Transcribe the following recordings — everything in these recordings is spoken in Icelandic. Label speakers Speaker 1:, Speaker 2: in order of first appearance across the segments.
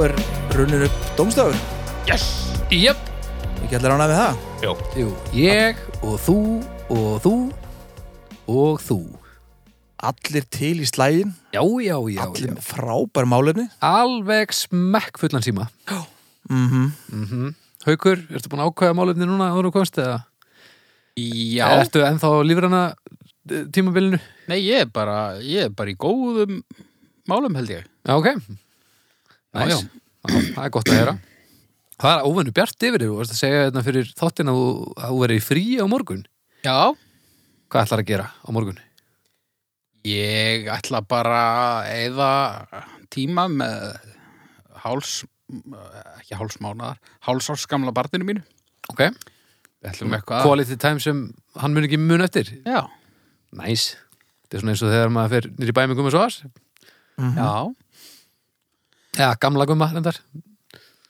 Speaker 1: runnin upp dómstafur
Speaker 2: Yes Jöp
Speaker 1: Ekki allir ánað með það
Speaker 2: Jó
Speaker 1: Jú,
Speaker 2: Ég
Speaker 1: og þú, og þú
Speaker 2: og þú
Speaker 1: Allir til í slægin
Speaker 2: Já, já, já,
Speaker 1: Allir
Speaker 2: já.
Speaker 1: með frábær málefni
Speaker 2: Alveg smekk fullan síma Mhm.
Speaker 1: mm
Speaker 2: Haukur, ertu búin að ákvæða málefni núna áður og komst eða?
Speaker 3: Já,
Speaker 2: Ertu ennþá á lífrana tímabilinu?
Speaker 3: nei, ég er bara, ég er bara í góðum málum held ég.
Speaker 2: Já, ok Já,
Speaker 3: Næs.
Speaker 2: já, Já, það er gott að heyra Það er óvennu bjart yfir þér, þú varst að segja þetta fyrir þáttinn að þú- að þú verið í frí á morgun
Speaker 3: Já,
Speaker 2: Hvað ætlar að gera á morgun?
Speaker 3: ég ætla bara að eða tíma með háls, ekki hálsmánaðar, hálsárskamla barninu mínu.
Speaker 2: Ok,
Speaker 3: Við
Speaker 2: Mm.
Speaker 3: ætlum eitthvað. að-
Speaker 2: quality time sem hann mun ekki mun eftir
Speaker 3: Já,
Speaker 2: Næs, þetta er svona eins og þegar maður fer nýri bæmi gumma svo aðs
Speaker 3: já.
Speaker 2: Já, gamla gumma, reyndar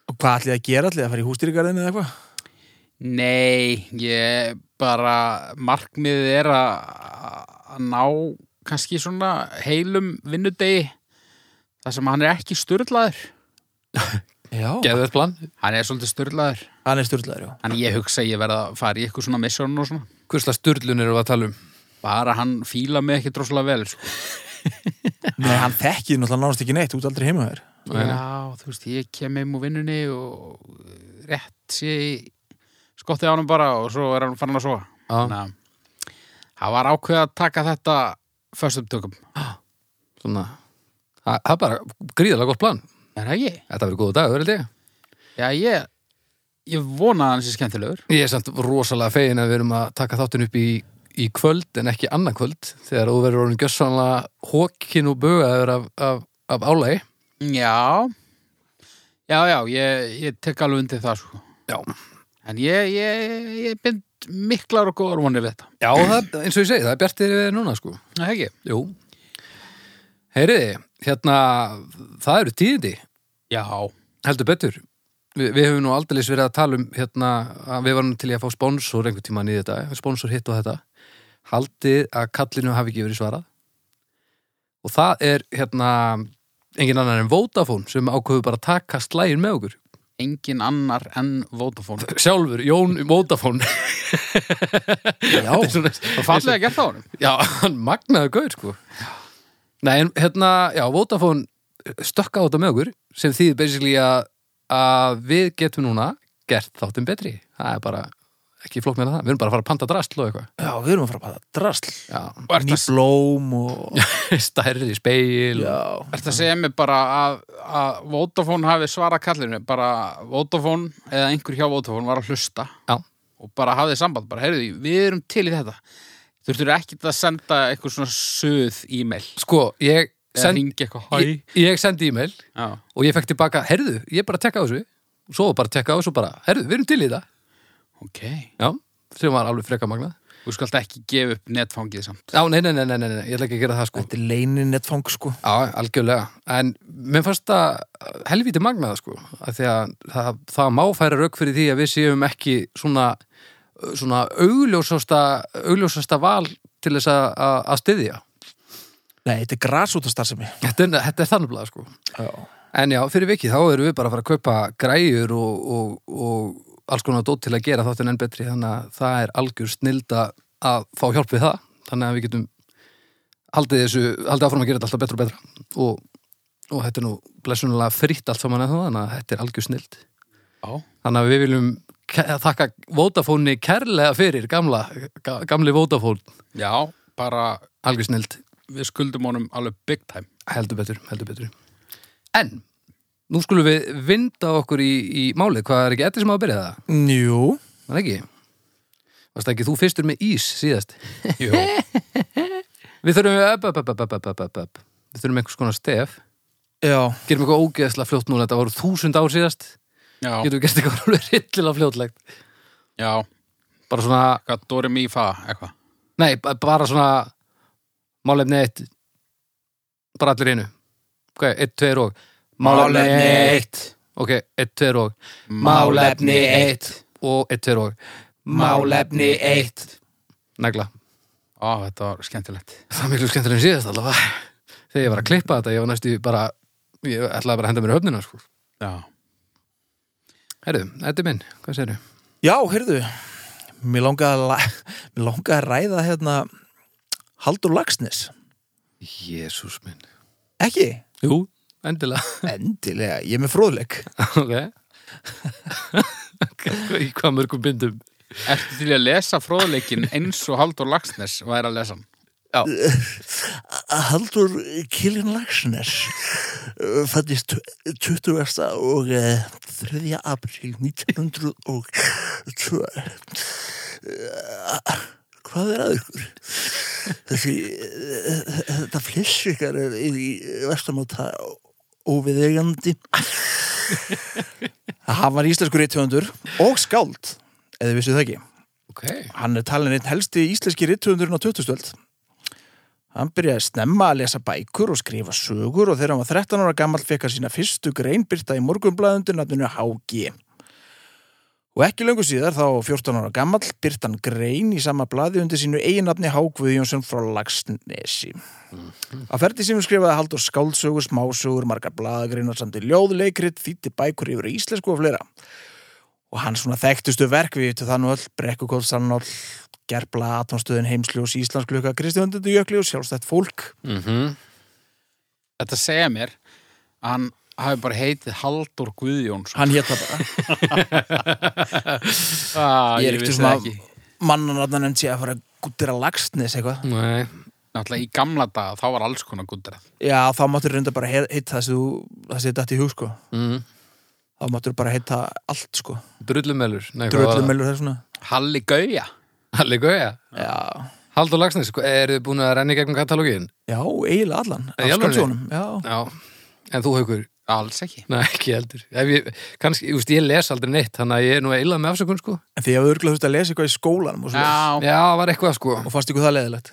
Speaker 1: Og hvað allir að gera allir? Að fara í hústýrigarðin eða eitthvað?
Speaker 3: Nei, ég bara, markmiðið er að að ná kannski svona heilum vinnudegi þar sem hann er ekki styrlaður.
Speaker 1: Já
Speaker 2: Geðu plan
Speaker 3: Hann er svolítið styrlaður.
Speaker 1: Hann er styrlaður, já
Speaker 3: Þannig ég hugsa að ég verða að fara í eitthvað svona mission og svona.
Speaker 2: Hvers slags sturlun eru að tala um?
Speaker 3: Bara hann fíla mig ekki droslega vel, sko.
Speaker 1: Nei, hann þekkið náttúrulega nánast ekki neitt Út aldrei heima þér
Speaker 2: Nei.
Speaker 3: Já, þú veist, ég kem heim úr vinnunni og rétt sé ég skottið á hann bara og svo er hann farin að sofa.
Speaker 2: Já,
Speaker 3: Þannig að það var ákveð að taka þetta föstum tökum.
Speaker 2: svona Það það er bara gríðalega gott plan
Speaker 3: Er það ekki?
Speaker 2: Þetta verður góða dagur, held ég
Speaker 3: Já, ég, ég vona að hann sé skemmtilegur.
Speaker 2: Ég er samt rosalega fegin að við erum að taka þáttin upp í, í kvöld en ekki annað kvöld þegar þú verður orðin gjössanlega hókin og bögaður af, af, af álægi
Speaker 3: Já, já, já, ég, ég tek alveg undir það, sko.
Speaker 2: Já.
Speaker 3: En ég, ég, ég bind miklar og góðar vonir við þetta.
Speaker 2: Já, það, eins og ég segi, það er bjartir við núna sko
Speaker 3: Er Það ekki?
Speaker 2: Jú Heyriði, hérna það eru tíðindi,
Speaker 3: Já.
Speaker 2: heldur betur Vi, Við höfum nú aldrei verið að tala um hérna, að við varum til í að fá sponsor einhvern tímann í þetta, sponsor hitt og þetta Haldið að kallinu hafi ekki verið svarað og það er hérna engin annar en Vodafone sem ákveður bara að taka slægin með okkur
Speaker 3: engin annar en Vodafone
Speaker 2: sjálfur, Jón Vodafone
Speaker 1: Já
Speaker 2: svona,
Speaker 3: og fallega gert á honum
Speaker 2: já, hann magnaður gaur sko nei, en hérna, já, Vodafone stökka á þetta með okkur sem þýðir basically að, að við getum núna gert þáttum betri það er bara ekki flók með það við erum bara að fara að panta drastl og eitthvað
Speaker 1: Já, við erum að fara að pata drasl
Speaker 2: já,
Speaker 3: og ert
Speaker 1: Ný
Speaker 3: að,
Speaker 1: blóm og
Speaker 2: stærri speil já.
Speaker 3: ert að segja mér bara að, að Vodafone hafi svarað kallinu bara Vodafone eða einhver hjá Vodafone var að hlusta
Speaker 2: Já.
Speaker 3: og bara hafið samband, bara heyrðu því, við erum til í þetta þurftur ekki að senda eitthvað svona söð e-mail
Speaker 2: sko, ég
Speaker 3: eða
Speaker 2: send,
Speaker 3: ringi eitthvað hæ
Speaker 2: ég, ég sendi e-mail
Speaker 3: Já.
Speaker 2: og ég fekk tilbaka, herðu, ég er bara að tekka á þessu og svo var bara að tekka á þessu og bara, herðu, við erum til í það
Speaker 3: ok,
Speaker 2: já, sem var alveg freka magnað
Speaker 3: þú skalt ekki gefa upp netfangið samt
Speaker 2: Já, nei, nei, nei, nei, nei, nei, ég ætla ekki að gera það sko
Speaker 1: Þetta er leinin netfang, sko
Speaker 2: Já, algjörlega, en mér fannst það helvítið magnaða sko að því að það, það má færa rauk fyrir því að við séum ekki svona svona augljósasta augljósasta val til þess að, að, að styðja.
Speaker 1: Nei, þetta er grasúta starfsemi
Speaker 2: Þetta er, þetta er þannig blað sko
Speaker 1: Já
Speaker 2: En já, fyrir vikið þá erum við bara að fara að kaupa græjur og, og, og alls konar dót til að gera þáttin enn betri þannig að það er algjör snilda að fá hjálp við það þannig að við getum haldið þessu, haldið áfram að gera þetta alltaf betra og betra og, og þetta er nú blessunulega fritt allt saman en það þannig að þetta er algjör snild
Speaker 3: Já.
Speaker 2: þannig að við viljum ke- þakka Vodafone kærlega fyrir gamla, ga- gamli Vodafone
Speaker 3: já, bara
Speaker 2: algjör snild
Speaker 3: við skuldum honum alveg big time
Speaker 2: Heldur betur, heldur betur. En, nú skulum við vinda okkur í, í málið. Hvað er ekki eftir sem á að byrja það?
Speaker 1: Jú
Speaker 2: Það er ekki. Varst ekki þú fyrstur með ís síðast?
Speaker 3: Jú.
Speaker 2: Við þurfum upp, upp, upp, upp, upp, upp, upp, upp. Við þurfum einhvers konar stef.
Speaker 1: Já
Speaker 2: Gerum eitthvað ógeðslega fljótt núna. Þetta voru þúsund ár síðast.
Speaker 3: já,
Speaker 2: Getum við gert eitthvað alveg rillilega fljótlegt.
Speaker 3: já,
Speaker 2: Bara svona,
Speaker 3: hvað Dóri Mífa eitthvað
Speaker 2: nei, ba- bara svona málefni eitt. Bara allir einu. Hvað er, eitt, tveir og. eitt. Ok, eitt, tveir og. Málefni eitt. og eitt, tveir og.
Speaker 1: Málefni eitt
Speaker 2: Negla.
Speaker 3: Á, þetta var skemmtilegt.
Speaker 2: Það er miklu skemmtilega en síðast allavega. Þegar ég var að klippa þetta, ég var næstu bara, ég ætlaði bara að henda mér í höfnina, sko.
Speaker 3: Já.
Speaker 2: Herðu, þetta er minn, hvað segirðu?
Speaker 1: Já, heyrðu, mér langaði að, la- mér langaði að ræða hérna Haldur Lagsnes,
Speaker 2: Jésús minn.
Speaker 1: ekki?
Speaker 2: Jú, endilega.
Speaker 1: Endilega, ég er með fróðleik.
Speaker 2: ok. Í hvað mörgum bindum?
Speaker 3: Ertu til í að lesa fróðleikin eins og Haldur Lagsnes væri að lesa hann?
Speaker 1: Haldur Kiljan Lagsnes fættist 20. og eh, 3. apríl 1902 Eh, Hvað er að ykkur? Þessi, eh, þetta fliss ykkar er er í vestamáta óviðegandi Hann var íslenskur rithöfundur og skáld, eða vissu það ekki
Speaker 2: Ok.
Speaker 1: hann er talin einn helsti íslenski rithöfundurinn á 2000-stöld. Hann byrjaði snemma að lesa bækur og skrifa sögur og þegar hann var 13 ára gammal fekk hann sína fyrstu greinbyrta í morgunblæðundir nafninu HG. Og ekki löngu síðar, þá 14 ára gammal, byrta hann grein í sama blaði undir sínu eiginnafni Hákvöðjónsson frá Lagsnesi. Á ferdi sem skrifaði Haldur skáldsögur, smásögur, margar blaðagreinar samt í ljóðleikrit, þýtti bækur yfir á íslensku og fleira og hans svona þekktustu verk við vitum það nú öll, Brekkukólsanál Gerbla, Atomstöðin, Heimsljós, Íslandsklukka Kristjöndundi Jökli og sjálfstætt fólk
Speaker 2: Mm -hmm.
Speaker 3: Þetta segja mér að hann hafi bara heitið Haldur Guðjónsson.
Speaker 1: hann hétt það bara,
Speaker 3: Ah,
Speaker 1: ég er
Speaker 3: ég
Speaker 1: ekki
Speaker 3: vissi
Speaker 1: svona-
Speaker 3: það ekki.
Speaker 1: mannanarnar nefnd sé að fara guttir að lagsnes eitthvað
Speaker 2: Nei.
Speaker 3: Náttúrulega í gamla daga þá var alls konar guttarað.
Speaker 1: já, þá máttur reynda bara he- heita þessi þú þessi þetta í hug sko,
Speaker 2: Mm.
Speaker 1: þá máttur bara heita allt sko,
Speaker 2: Drullumelur. Nei, hvað var það?
Speaker 1: dröllumölur það svona
Speaker 3: Halli Gauja.
Speaker 2: Halli Gauja.
Speaker 1: já,
Speaker 2: Haldur Lagsnes, eru þið búin að renna í gegnum katalógin?
Speaker 1: já, eiginlega allan
Speaker 2: Í alvörunni?
Speaker 1: skáldsjónum, já
Speaker 2: Já. En þú haukur?
Speaker 3: Alls ekki.
Speaker 2: Nei, ekki heldur. Ef ég, kannski, ég, ég les aldrei neitt, þannig að ég er nú eilað með afsökun, sko.
Speaker 1: en því að við örgulega þurfti að lesa eitthvað í skólanum og, svoleiðis.
Speaker 3: Já,
Speaker 2: Já, var eitthvað, sko.
Speaker 1: og fannst ykkur það leðilegt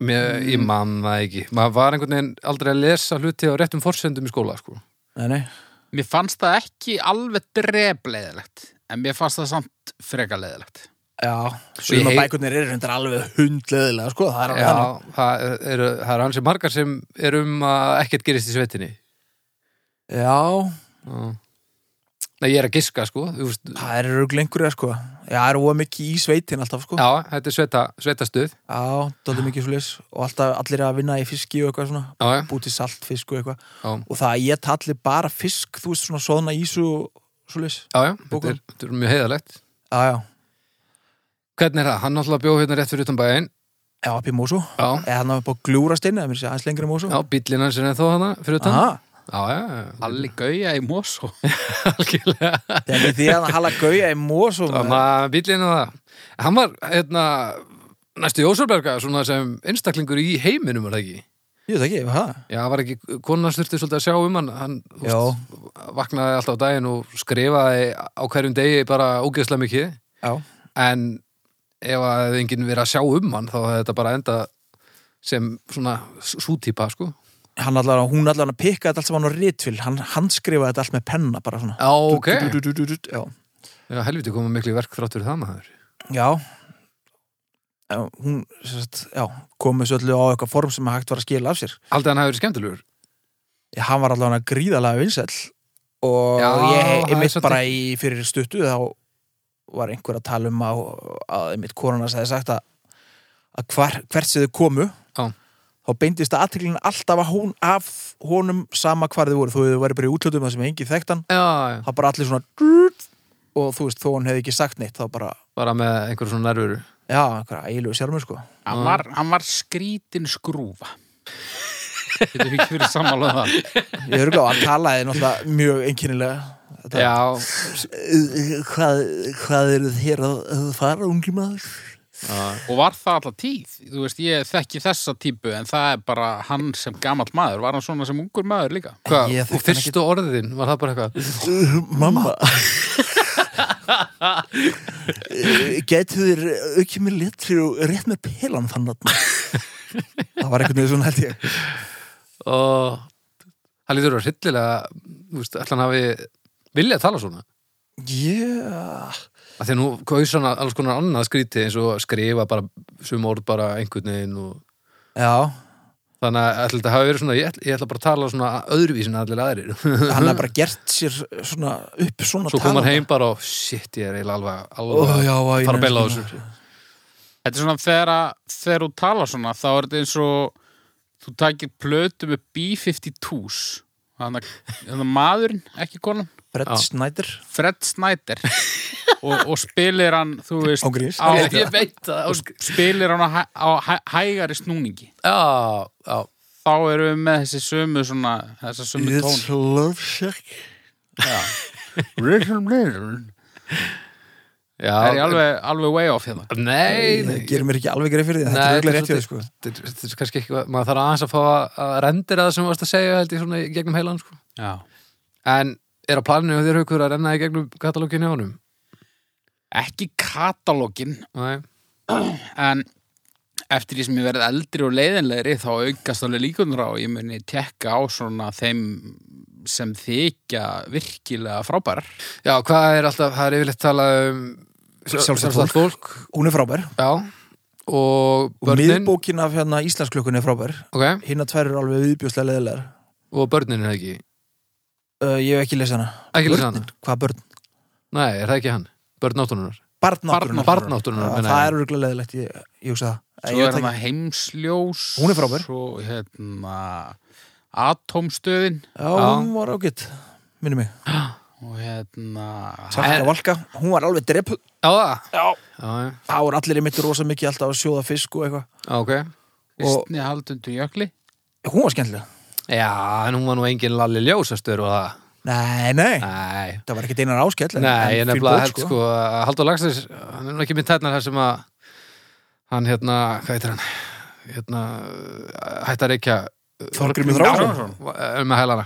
Speaker 2: Mér, ég man það ekki. Maður var einhvern veginn aldrei að lesa hluti á réttum forsendum í skóla, sko.
Speaker 1: nei, nei,
Speaker 3: mér fannst það ekki alveg drefleiðilegt, en mér fannst það samt freka leiðilegt.
Speaker 1: já, sumar
Speaker 2: hei-
Speaker 1: bækurnir eru reyndar alveg hundleðilega sko, það er alveg þannig.
Speaker 2: Já, það eru það eru hansi margar sem er um að ekkert gerist í svetinni.
Speaker 1: Já,
Speaker 2: Já. Nei, ég er að giska, sko. Þú veist, já,
Speaker 1: það eru rögl einhverja sko Já, það eru óa mikið í sveitin alltaf sko Já,
Speaker 2: þetta er sveta, svetastuð.
Speaker 1: dálítið mikið svo Og alltaf allir að vinna í fiski og eitthvað svona
Speaker 2: Já, já,
Speaker 1: Búti saltfisk og eitthvað
Speaker 2: já,
Speaker 1: Og það að ég talli bara fisk, þú veist svona soðna ísu og svo leis
Speaker 2: já, já
Speaker 1: Bókum.
Speaker 2: þetta, er, þetta er mjög heiðalegt.
Speaker 1: Já, já,
Speaker 2: Hvernig er það? Hann náttúrulega bjóð hérna rétt fyrir utan bæinn.
Speaker 1: já, upp í mósu
Speaker 2: Já,
Speaker 1: Eða hann var upp á glúrasteinu, eða mér sé aðeins lengri mósu
Speaker 2: já, bíllinn hans er ennþá hana fyrir utan.
Speaker 1: Aha,
Speaker 2: Já, já, já,
Speaker 3: Halli Gauja í Mosó.
Speaker 2: algjörlega.
Speaker 1: það er ekki því að hann hala gauja í mósu
Speaker 2: Þannig að bíllinn að það. Hann var, hérna, næstu Jósarberga, svona sem einstaklingur í heiminum, var það ekki?
Speaker 1: Jú, það ekki, hvað?
Speaker 2: Já, var ekki, konan þurfti svolítið að sjá um hann, hann þú
Speaker 1: Já.
Speaker 2: veist, vaknaði alltaf á daginn og skrifaði á hverjum degi bara ógeðslega mikið,
Speaker 1: Já,
Speaker 2: en ef að hefði enginn verið að sjá um hann, þá hefði þetta bara enda sem svona sútípa, sko.
Speaker 1: hann allan, hún allan að pikka þetta allt saman á ritvill Hann, hann skrifaði þetta allt með penna bara svona
Speaker 2: Já, ok.
Speaker 1: Du- du- du- du- du- Já
Speaker 2: Já, helviti komið miklu í verk þrátt fyrir það maður.
Speaker 1: Já Já, hún sem sagt, já, kom þessu öllu á eitthvað form sem hægt var að skila af sér
Speaker 2: Aldrei hann hafi verið skemmtilegur.
Speaker 1: ég, hann var allavega gríðalega vinsæll og
Speaker 2: Já,
Speaker 1: ég
Speaker 2: það er
Speaker 1: einmitt
Speaker 2: svolítið-
Speaker 1: bara í fyrir stuttu þá var einhver að tala um að, að einmitt korona sagði sagt að, að hvar, hvert sem þau komu
Speaker 2: Já.
Speaker 1: þá beindist að aðteklinn alltaf að hún, af honum sama hvar þau voru þó þau væri bara í útlöndum það sem engi þekkt hann
Speaker 2: Já, já.
Speaker 1: þá bara allir svona og þú veist þó hann hefði ekki sagt neitt þá bara,
Speaker 2: Bara með einhverjum svona nervuru.
Speaker 1: já, einhverja ægilegu sjálfur sko
Speaker 3: Hann var, hann var skrítin skrúfa. Þetta er ekki verið sammála um það.
Speaker 1: Ég er gláð, hann talaði náttúrulega mjög einkennilega Þetta-
Speaker 2: Já,
Speaker 1: Hvað, hvað eru þið hér að, að fara, ungi maður?
Speaker 2: já.
Speaker 3: Og var það alltaf tíð. Þú veist, ég þekki þessa típu, en það er bara hann sem gamall maður. Var hann svona sem ungur maður líka?
Speaker 2: Hvað,
Speaker 1: Ég þekkti
Speaker 2: og fyrstu orðin, var það bara eitthvað?
Speaker 1: Mamma Gætu þér aukið mér litri og rétt með pelan þann að Það var einhvern veginn svona held ég
Speaker 2: Og það lítur að hryllilega, þú veist, allan hafi viljað tala svona.
Speaker 1: Yeah
Speaker 2: að því að nú kaus hann alls konar annað skríti eins og skrifa bara sum orð bara einhvern veginn og
Speaker 1: Já
Speaker 2: Þannig að ætli þetta hafi verið svona, ég ætla, ég ætla bara að tala svona öðruvísin allir aðrir.
Speaker 1: hann hafði bara gert sér svona upp svona
Speaker 2: Svo kom hann
Speaker 1: talanda.
Speaker 2: heim bara og shit, ég er eiginlega alveg,
Speaker 1: Ó,
Speaker 2: alveg
Speaker 1: já,
Speaker 2: að
Speaker 1: að
Speaker 2: fara að bella á þessu.
Speaker 3: Þetta er svona þegar, að, þegar þú talar svona þá er þetta eins og þú takir plötu með B-52s þannig að maðurinn, ekki konan
Speaker 1: Brett
Speaker 2: Já.
Speaker 1: Snyder
Speaker 3: Fred Snyder og, og spilir hann, þú veist
Speaker 1: Án gríns.
Speaker 3: á,
Speaker 1: Ég-
Speaker 2: Ég veit það.
Speaker 3: og
Speaker 2: Ósk.
Speaker 3: sk- spilir hann á, hæ- á hæ, hægari snúningi
Speaker 2: Já, já.
Speaker 3: þá erum við með þessi sömu svona, þessa sömu tón
Speaker 1: It's love shack
Speaker 2: Já,
Speaker 3: Það er ég alveg, alveg way off hérna
Speaker 2: Nei,
Speaker 1: Það
Speaker 2: nei.
Speaker 1: gerir mér ekki alveg greið fyrir því en Þetta
Speaker 2: Nei,
Speaker 1: er auðvitað rétt
Speaker 2: þetta
Speaker 1: hjá
Speaker 2: er
Speaker 1: því sko
Speaker 2: Þetta er- þetta er kannski eitthvað, maður þarf aðeins að fá að- að rendera það sem þú varst að segja held ég svona í gegnum heilan sko.
Speaker 3: Já.
Speaker 2: En er á planinu og þér haukur að renna í gegnum katalóginu á honum?
Speaker 3: Ekki katalógin
Speaker 2: Nei.
Speaker 3: en eftir því sem ég verið eldri og leiðinlegri þá aukast alveg líkunar á að ég muni tekka á svona þeim sem þykja virkilega frábærar
Speaker 2: Já, hvað er alltaf, það er yfirleitt talað um
Speaker 1: Sjálfstætt
Speaker 2: fólk.
Speaker 1: sko. Hún er frábær
Speaker 2: Já,
Speaker 1: og
Speaker 2: og börnin,
Speaker 1: miðbókin af hérna Íslandsklökkunni er frábær
Speaker 2: ok,
Speaker 1: Hina tvær eru alveg viðbjóðslega leðilegar
Speaker 2: og börnin er það ekki.
Speaker 1: uh, Ég hef ekki lesið hana
Speaker 2: Ekki lesið
Speaker 1: Börnin? Hvað börn?
Speaker 2: Nei, er það ekki hann? Börn áttununar.
Speaker 1: Barnátturinn
Speaker 2: Barnáttununar,
Speaker 1: Það það er örgulega leðilegt Ég, ég hugsa það
Speaker 3: svo
Speaker 1: Ég
Speaker 3: er
Speaker 1: tek-
Speaker 3: hann heimsljós
Speaker 1: Hún er frábær.
Speaker 3: svo hérna atómstöðin
Speaker 1: Já, hún var ágætt Minni mig
Speaker 3: og hérna
Speaker 1: Salka
Speaker 2: En-
Speaker 1: Valka Hún var alveg drepp
Speaker 2: Já, það.
Speaker 1: Já
Speaker 2: Já, já.
Speaker 1: Þá er allir í mitt rosa mikið alltaf að sjóða fisk og eitthvað
Speaker 2: Já, ok.
Speaker 1: og-
Speaker 3: Kristni Haldundur Jökli
Speaker 1: Hún var skemmtilega
Speaker 2: Já, en hún var nú engin lalli ljósastur og það.
Speaker 1: Nei, nei
Speaker 2: Nei.
Speaker 1: Það var ekkert einar áskell en-
Speaker 2: Nei,
Speaker 1: en
Speaker 2: ég
Speaker 1: fín
Speaker 2: nefnilega
Speaker 1: bók,
Speaker 2: held sko að Haldur Lagsnes, hann er nú ekki minn tætnar þar sem að hann hérna, hvað heitir hann? Hérna, hættar ekki að
Speaker 1: Þorgrímur Þráinsson.
Speaker 2: með hælana.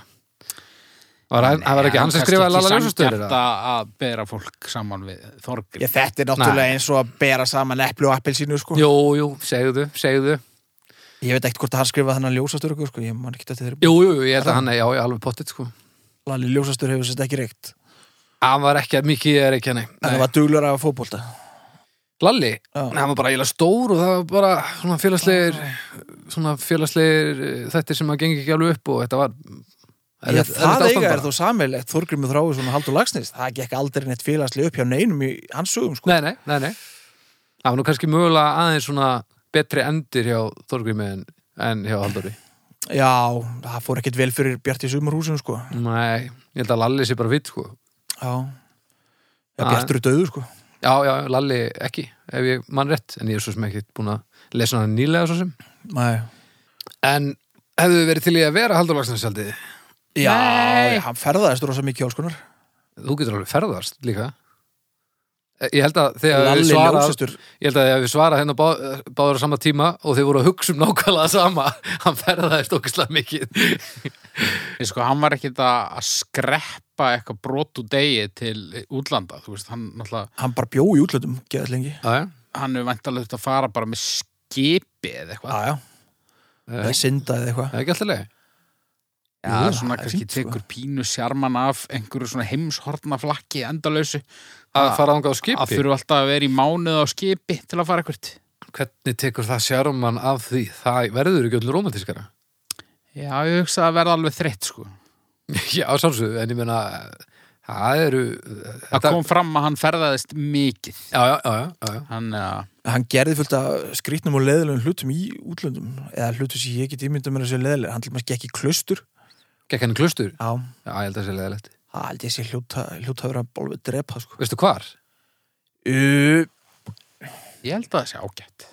Speaker 2: Var hann, hann var ekki hann sem skrifaði Lalla Ljósustöður?
Speaker 3: að, að bera fólk saman við Þorgrim
Speaker 1: Ég, þetta er náttúrulega eins og að bera saman epli og appelsínu sko.
Speaker 2: Jú, jú, segðu, segðu.
Speaker 1: Ég veit ekkert hvort að hann skrifaði þannig að ljósastur ykkur, sko. Ég man ekki þetta þeirri.
Speaker 2: Jú, jú, jú, ég held að hann, já, ég alveg pottit sko.
Speaker 1: Lalli ljósastur hefur sérst ekki reykt.
Speaker 2: Hann var ekki að mikið er ekki hann,
Speaker 1: En það
Speaker 2: nei.
Speaker 1: var duglur af fótbolta.
Speaker 2: Lalli,
Speaker 1: Já.
Speaker 2: hann var bara eiginlega stór og það var bara svona félagslegir, svona félagslegir eh, þættir sem að gengi ekki alveg upp og þetta var...
Speaker 1: Ég,
Speaker 2: erfitt-
Speaker 1: það
Speaker 2: erfitt ástand
Speaker 1: eiga
Speaker 2: bara.
Speaker 1: er þó sammeilegt Þorgrimur Þráiðsson og Haldur Lagsnes. Það gekk aldrei neitt félagslega upp hjá neinum í hans sögum sko.
Speaker 2: Nei, nei, nei, nei. Það var nú kannski mögulega aðeins svona betri endir hjá Þorgrími en, en hjá Halldóri.
Speaker 1: Já, það fór ekkert vel fyrir Bjarti Sumarhúsum sko.
Speaker 2: Nei, ég held að Lalli sé bara vitt, sko.
Speaker 1: Já. Já,
Speaker 2: Já.
Speaker 1: Bjartur er döðu sko.
Speaker 2: Já, já, Lalli ekki, ef ég mann rétt, en ég er svo sem ekki búin að lesa hann nýlega svo sem.
Speaker 1: Nei.
Speaker 2: En hefðu þið verið til í að vera Halldór Lagsnes haldið? þið?
Speaker 1: Já,
Speaker 3: Nei.
Speaker 1: hann ferðaðist rosa mikið álskonar.
Speaker 2: Þú getur alveg ferðast líka. Eh, Ég held að þegar
Speaker 1: Lalli
Speaker 2: við svarað,
Speaker 1: ljósastur.
Speaker 2: ég held að þegar við svarað hérna bá, báður á sama tíma og þið voru að hugsa um nákvæmlega sama, hann ferðaðist okkislega mikið.
Speaker 3: Ég sko, hann var ekkit að að skreppa eitthvað brotu degi til útlanda, þú veist, hann náttúrulega,
Speaker 1: Hann bara bjó í útlöndum, geðað lengi.
Speaker 2: Já, já.
Speaker 3: hann er vantalegt að fara bara með skipi eða eitthvað.
Speaker 1: Já, já. Það er syndaðið eitthvað.
Speaker 2: Það er ekki alltaf leið.
Speaker 3: Já,
Speaker 1: jú, það
Speaker 3: svona
Speaker 1: er
Speaker 3: kannski
Speaker 1: fínt, sko.
Speaker 3: tekur pínu sjarman af einhverju svona heimshortna flakki endalösu,
Speaker 2: að
Speaker 3: Að-
Speaker 2: fara þangað á
Speaker 3: að
Speaker 2: skipi
Speaker 3: þurfa alltaf að vera í mánuð á skipi til að fara eitthvað.
Speaker 2: hvernig tekur það sjármann af því það verður ekki öllu romantískara
Speaker 3: Já, ég hugsa að verða alveg þreytt, sko.
Speaker 2: já, sálsög, en ég meina það eru
Speaker 3: Það kom fram að hann ferðaðist mikið.
Speaker 2: já, já, já, já, já.
Speaker 3: Hann, uh,
Speaker 1: hann gerði fullt af skrýtnum og leðilegum hlutum í útlöndum eða hlutum sem ég get ímynda mér að séu leðileg hann til maður gekk í klaustur
Speaker 2: gekk hann í klustur já,
Speaker 1: já,
Speaker 2: ég held að það sé leðilegt
Speaker 1: það held ég sé hljóta hljóta að vera bólfið drepa sko.
Speaker 2: veistu hvar?
Speaker 1: uh,
Speaker 3: ég held að það sé ágætt.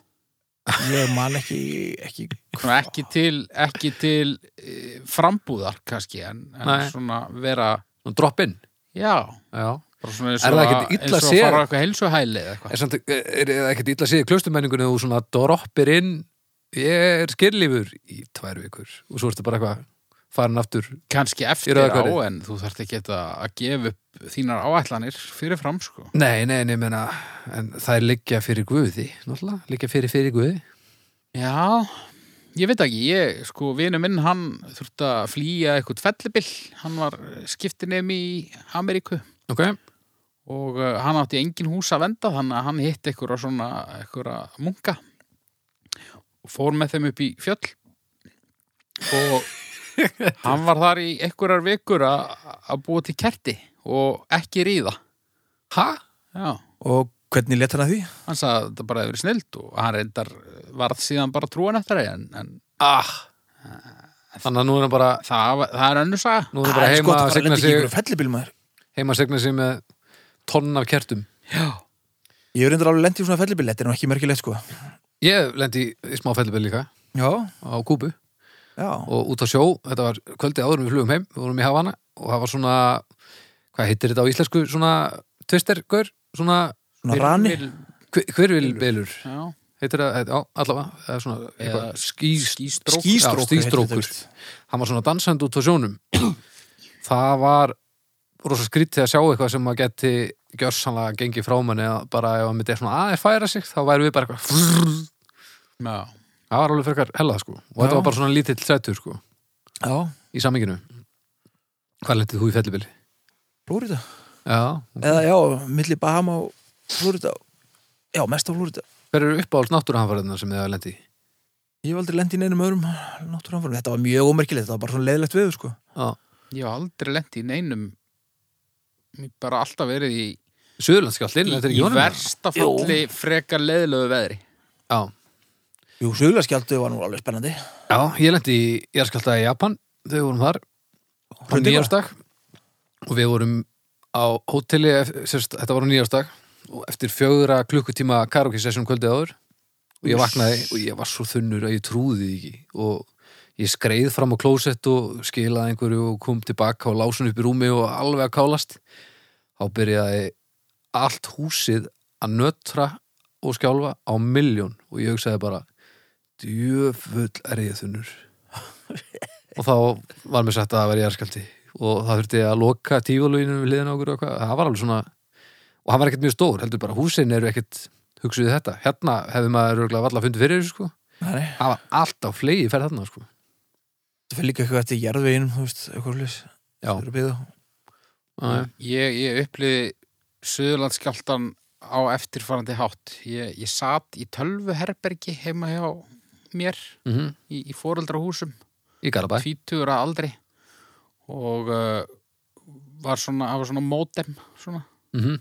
Speaker 1: ég man ekki, ekki
Speaker 3: Svona ekki til, ekki til e, frambúðar, kannski, en, en
Speaker 2: Nei.
Speaker 3: svona vera...
Speaker 2: Nú, drop in
Speaker 3: Já,
Speaker 2: já.
Speaker 3: bara svona eins
Speaker 2: Er það
Speaker 3: og að-
Speaker 2: ekkert illa
Speaker 3: eins og að
Speaker 2: séð?
Speaker 3: fara á eitthvað heilsuhæli eða eitthvað
Speaker 2: er, samt, er, er það ekkert illa að segja klusturmenningunni þú svona droppir inn ég er skirlífur í tvær vikur og svo ertu bara eitthvað farin aftur
Speaker 3: kannski eftir
Speaker 2: Í
Speaker 3: á
Speaker 2: Rauðakoti.
Speaker 3: en þú þarft ekki að gefa upp þínar áætlanir fyrir fram sko
Speaker 2: nei, nei, nei, menna en það er liggja fyrir guði náttúrulega, liggja fyrir fyrir guði
Speaker 3: Já, ég veit ekki, ég sko vinu minn hann þurfti að flýja eitthvað fellibill, hann var skiptinemi í Ameríku
Speaker 2: ok,
Speaker 3: og uh, hann átti engin hús að venda þannig að hann hitt eitthvað svona eitthvað munka og fór með þeim upp í fjöll og hann var þar í einhverjar vikur að að búa til kerti og ekki ríða
Speaker 2: Hæ?
Speaker 3: já,
Speaker 1: Og hvernig leta hann að því?
Speaker 3: hann sagði að þetta bara hefur verið snilt og hann reyndar eh, varð síðan bara trúan eftir það en, en
Speaker 2: Ah. Þannig að nú er hann bara,
Speaker 3: það, var- það er önnur saga
Speaker 2: nú er hann bara
Speaker 1: Ah,
Speaker 2: heima
Speaker 1: það
Speaker 2: að
Speaker 1: bara
Speaker 2: signa
Speaker 1: lendi ekki
Speaker 2: sig,
Speaker 1: ykkur fellibíl maður.
Speaker 2: heima að signa sig með tonn af kertum.
Speaker 3: já,
Speaker 1: Ég er reyndar alveg lendi í svona fellibíl, þetta er nú ekki merkilegt sko.
Speaker 2: Ég lendi í smá fellibili líka
Speaker 1: Já,
Speaker 2: á Kúbu
Speaker 1: já.
Speaker 2: og út á sjó, þetta var kvöldi áður en við flugum heim, við vorum í Havana og það var svona, hvað heitir þetta á íslensku, svona tvistergur, svona
Speaker 1: Svona rani.
Speaker 3: Vil-
Speaker 2: hvervilbelur,
Speaker 3: já,
Speaker 2: heitir það, já, allavega, eða svona eitthvað, ský,
Speaker 3: skýstrók
Speaker 1: Ský- skýstrókur
Speaker 2: já, skýstrókur.
Speaker 1: heitir þetta sko.
Speaker 2: Hann var svona dansandi út á sjónum. það var rosa skrítið að sjá eitthvað sem maður geti gjörsanlega gengið frá manni að bara ef hann myndi svona aðeins færa sig, þá væri við bara eitthvað frrrr.
Speaker 3: já,
Speaker 2: það var alveg frekar hellað sko og þetta
Speaker 1: Já.
Speaker 2: var bara svona lítill sættur sko
Speaker 1: Já,
Speaker 2: í saminginu hvað lendið þú í fellibili?
Speaker 1: Flórida.
Speaker 2: Já,
Speaker 1: Eða já, milli Bahama og Flórida. Já, mest á Flórida.
Speaker 2: hver eru uppáhalds náttúruhanfæriðnar sem þið hafa lendið í?
Speaker 1: Ég hef aldrei lendi í neinum öðrum náttúranfórum. Þetta var mjög ómerkilegt, þetta var bara svona leiðilegt veður sko.
Speaker 2: Já,
Speaker 3: ég hef aldrei lent í neinum Ég hef bara alltaf verið í, í,
Speaker 2: Suðurlandskjálftin, þetta er
Speaker 3: í
Speaker 2: ekki honum
Speaker 3: versta falli frekar leðilegu veðri
Speaker 2: Já.
Speaker 1: Jú, sögulegskjaldu var nú alveg spennandi.
Speaker 2: Já, ég lendi í jarðskjálfta í Japan þau vorum þar á
Speaker 1: Hrundi hvað?
Speaker 2: nýjársdag og við vorum á hóteli ef- sérst, þetta var á nýjársdag og eftir fjögura klukkutíma karaoke session kvöldið áður og ég vaknaði og ég var svo þunnur að ég trúði því ekki og ég skreið fram á klósett og skilaði einhverju og kom tilbaka og lásun upp í rúmi og alveg að kálast þá byrjaði allt húsið að nötra og skjálfa á milljón og ég hugsaði bara djöfull er ég þunnur og þá var mér sett að vera jarðskjálfti og það þurfti að loka tífaluginu við liðin á okkur og eitthvað, það var alveg svona og hann var ekkert mjög stór, heldur bara húsin eru ekkert hugsuðu þetta, hérna hefði maður örugglega varla fundið fyrir þessu sko,
Speaker 1: Nei,
Speaker 2: það var alltaf flegi fyrir þarna sko,
Speaker 1: það fyrir líka eitthvað eftir jarðveginum, þú veist, eitthvað hljus.
Speaker 2: já,
Speaker 1: Það er að byggða.
Speaker 2: Ah, já.
Speaker 3: ég, ég upplýði Suðurlandskjáltan á eftirfarandi hátt ég, ég satt í tölvuherbergi heima hjá mér
Speaker 2: Mm -hmm.
Speaker 3: í, í foreldrahúsum
Speaker 2: í Garabæ
Speaker 3: tvítugur að aldri og uh, var svona, það var svona mótem svona.
Speaker 2: mm -hmm.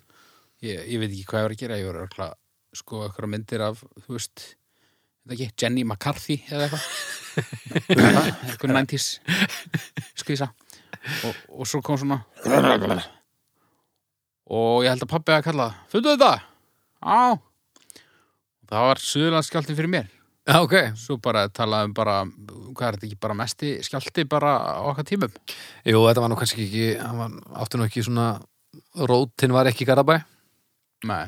Speaker 3: Ég, ég veit ekki hvað ég var að gera ég var örgla, sko, eitthvað myndir af þú veist, þetta ekki, Jenny McCarthy eða eitthvað eitthvað 90s skvísa og, og svo kom svona og ég held að pabbi að kalla fundu þetta? á það var suðurlandskjálti fyrir mér
Speaker 2: já, ok,
Speaker 3: Svo bara talaðum bara, hvað er þetta ekki bara mesti skjálti bara á okkar tímum?
Speaker 2: jú, þetta var nú kannski ekki hann var, átti nú ekki svona rótin var ekki í Garabæ
Speaker 3: Nei.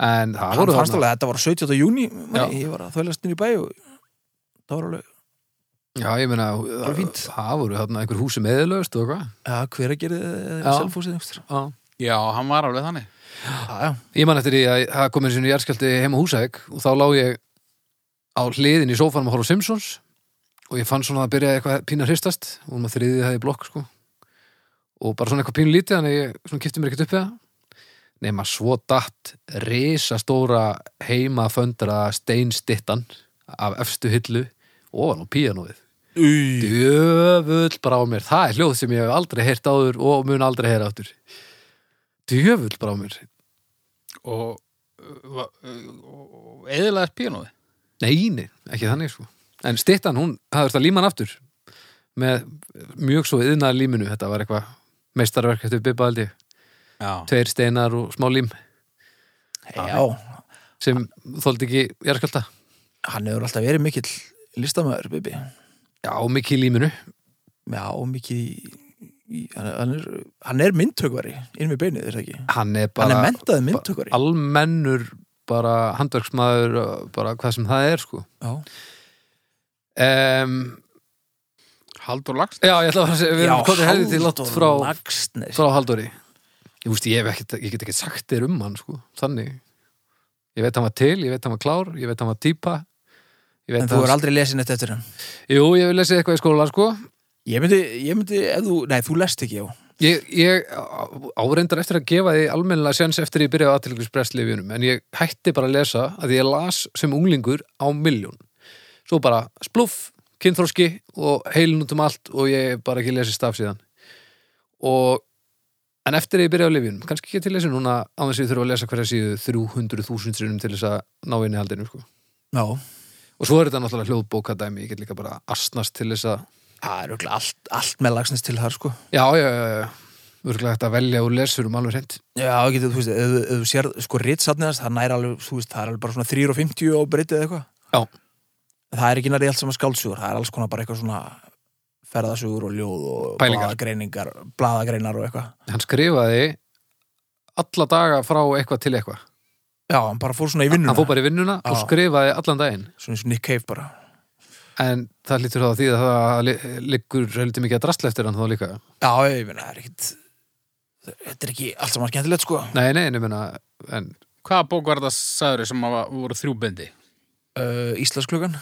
Speaker 2: en það
Speaker 1: Hann
Speaker 2: voru
Speaker 1: fannst
Speaker 2: þarna,
Speaker 1: alveg að þetta var 17. júni,
Speaker 2: Já.
Speaker 1: ég var að þvælast inn í bæ og það var alveg,
Speaker 2: já, ég meina
Speaker 1: var
Speaker 2: það,
Speaker 1: fínt.
Speaker 2: það voru þarna einhver húsi meðlöfst og eitthvað
Speaker 1: já, hver að gera þið
Speaker 2: Já.
Speaker 1: selfúsið einhverjum.
Speaker 2: já
Speaker 3: Já, hann var alveg þannig.
Speaker 1: Já, já.
Speaker 2: Ég man eftir því að það kom einu sinni jarðskjálti heima á Húsæk og þá lá ég á hliðin í sófanum að horfa á Simpsons og ég fann svona að byrja eitthvað pína hristast og maður þriðið það í blokk sko og bara svona eitthvað pínu lítið þannig að ég svona kipti mér ekkert upp við það nema svo datt risastóra heimaföndra steinstittan af efstu hillu ofan á píanóið
Speaker 1: Új.
Speaker 2: Djöfull brá mér, það er hljóð sem ég hef aldrei heyrt áður og mun aldrei heyra áttur Djöfull brá mér
Speaker 3: Og, uh, og eðilaðist píanóði.
Speaker 2: Nei, nei, ekki þannig sko En styttan, hún, það þurfti að líma hann aftur með mjög svo yðnaðar líminu þetta var eitthvað meistarverk eftir Bibba held ég,
Speaker 3: Já.
Speaker 2: tveir steinar og smá lím
Speaker 1: já,
Speaker 2: sem þóldi ekki jarðskjálta
Speaker 1: hann hefur alltaf verið mikill listamæður, baby.
Speaker 2: Já, mikið í líminu
Speaker 1: Já, mikið í, í hann, hann, er, hann er myndtökvari inn með beinið, er það ekki?
Speaker 2: Hann er
Speaker 1: hann er
Speaker 2: bara
Speaker 1: mentaði myndtökvari.
Speaker 2: almennur bara handverksmaður bara hvað sem það er sko
Speaker 1: Já,
Speaker 2: um,
Speaker 3: Haldur lagst.
Speaker 2: Já, ég ætla að fara að segja, við
Speaker 1: Já,
Speaker 2: erum komið hefði til látt
Speaker 1: Halldór
Speaker 2: frá,
Speaker 1: Laxness.
Speaker 2: frá Halldóri Ég, veist, ég, hef ekkert, ég get ekki sagt þér um hann sko, þannig Ég veit hann var til, ég veit hann var klár, ég veit hann var típa Ég veit
Speaker 1: En þú
Speaker 2: hann
Speaker 1: er aldrei lesin eftir hann.
Speaker 2: Jú, ég vil lesið eitthvað í skóla sko
Speaker 1: Ég myndi, ég myndi, ef þú, nei, þú lest ekki, já.
Speaker 2: Ég, ég á- áreindar eftir að gefa því almennilega séns eftir ég byrjaði aðtilgjursprestlifinum en ég hætti bara að lesa að ég las sem unglingur á milljón Svo bara spluff, kynþróski og heilin út um allt og ég hef bara ekki lesið staf síðan og en eftir að ég byrjaði á lifinum, kannski ekki til lesið núna á þess að ég þurfa að lesa hverja síðu 300.000 sinum til þess að ná inn í haldinu sko.
Speaker 1: Já,
Speaker 2: og svo er þetta náttúrulega hljóðbókadæmi ég get líka bara astnast til þess að
Speaker 1: það er örugglega allt, allt með lagsnist til þar sko
Speaker 2: já, já, já, já, já örgulega þetta velja úr lesurum alveg hreint
Speaker 1: Já, getur, þú veist, ef, þú- ef þú sér sko ritsatniðast, það nær alveg, þú veist, það er alveg bara svona 3,50 og breytið eða eitthvað
Speaker 2: Já.
Speaker 1: En Það er ekki nærið allt saman skáldsögur, það er alls konar bara eitthvað svona ferðasögur og ljóð og
Speaker 2: Pælingar.
Speaker 1: blaðagreiningar, blaðagreinar og eitthvað
Speaker 2: hann skrifaði alla daga frá eitthvað til eitthvað
Speaker 1: Já, hann bara fór svona í vinnuna,
Speaker 2: hann fór bara í vinnuna og
Speaker 1: Já.
Speaker 2: skrifaði allan daginn
Speaker 1: svona eins og Nick Cave bara
Speaker 2: en það lítur þá að því að það li- liggur heldur mikið að drastla eftir hann þá líka
Speaker 1: Já, ég meina, það er ekkit Þetta er ekki allt saman skemmtilegt, sko
Speaker 2: nei, nei, en ég meina en,
Speaker 3: Eh, Hvaða bók var þetta sagður sem að voru þrjúbendi?
Speaker 1: uh, Íslasklökan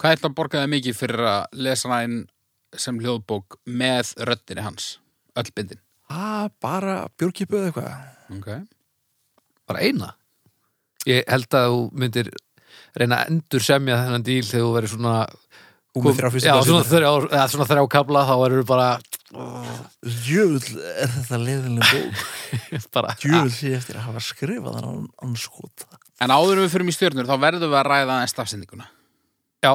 Speaker 3: Hvað ætla að borga það mikið fyrir að lesa hana inn sem hljóðbók með röddinni hans? Öll bindin.
Speaker 1: Ah, bara björkipu eða eitthvað
Speaker 3: Okay.
Speaker 2: bara eina ég held að þú myndir reyna að endur semja þennan díl þegar þú verður svona
Speaker 1: Búið með þrjá fyrstu
Speaker 2: já,
Speaker 1: blaðsíðurnar.
Speaker 2: svona, þrjá, eða, svona þrjá kabla þá verður bara,
Speaker 1: Jöfull, er þetta leiðinlega bók
Speaker 2: bara
Speaker 1: Jöfull sé ég eftir að hafa skrifað hann án- án skota
Speaker 3: En áður en við fyrir mig stjörnur þá verðum við að ræða aðeins stafsendinguna.
Speaker 2: já,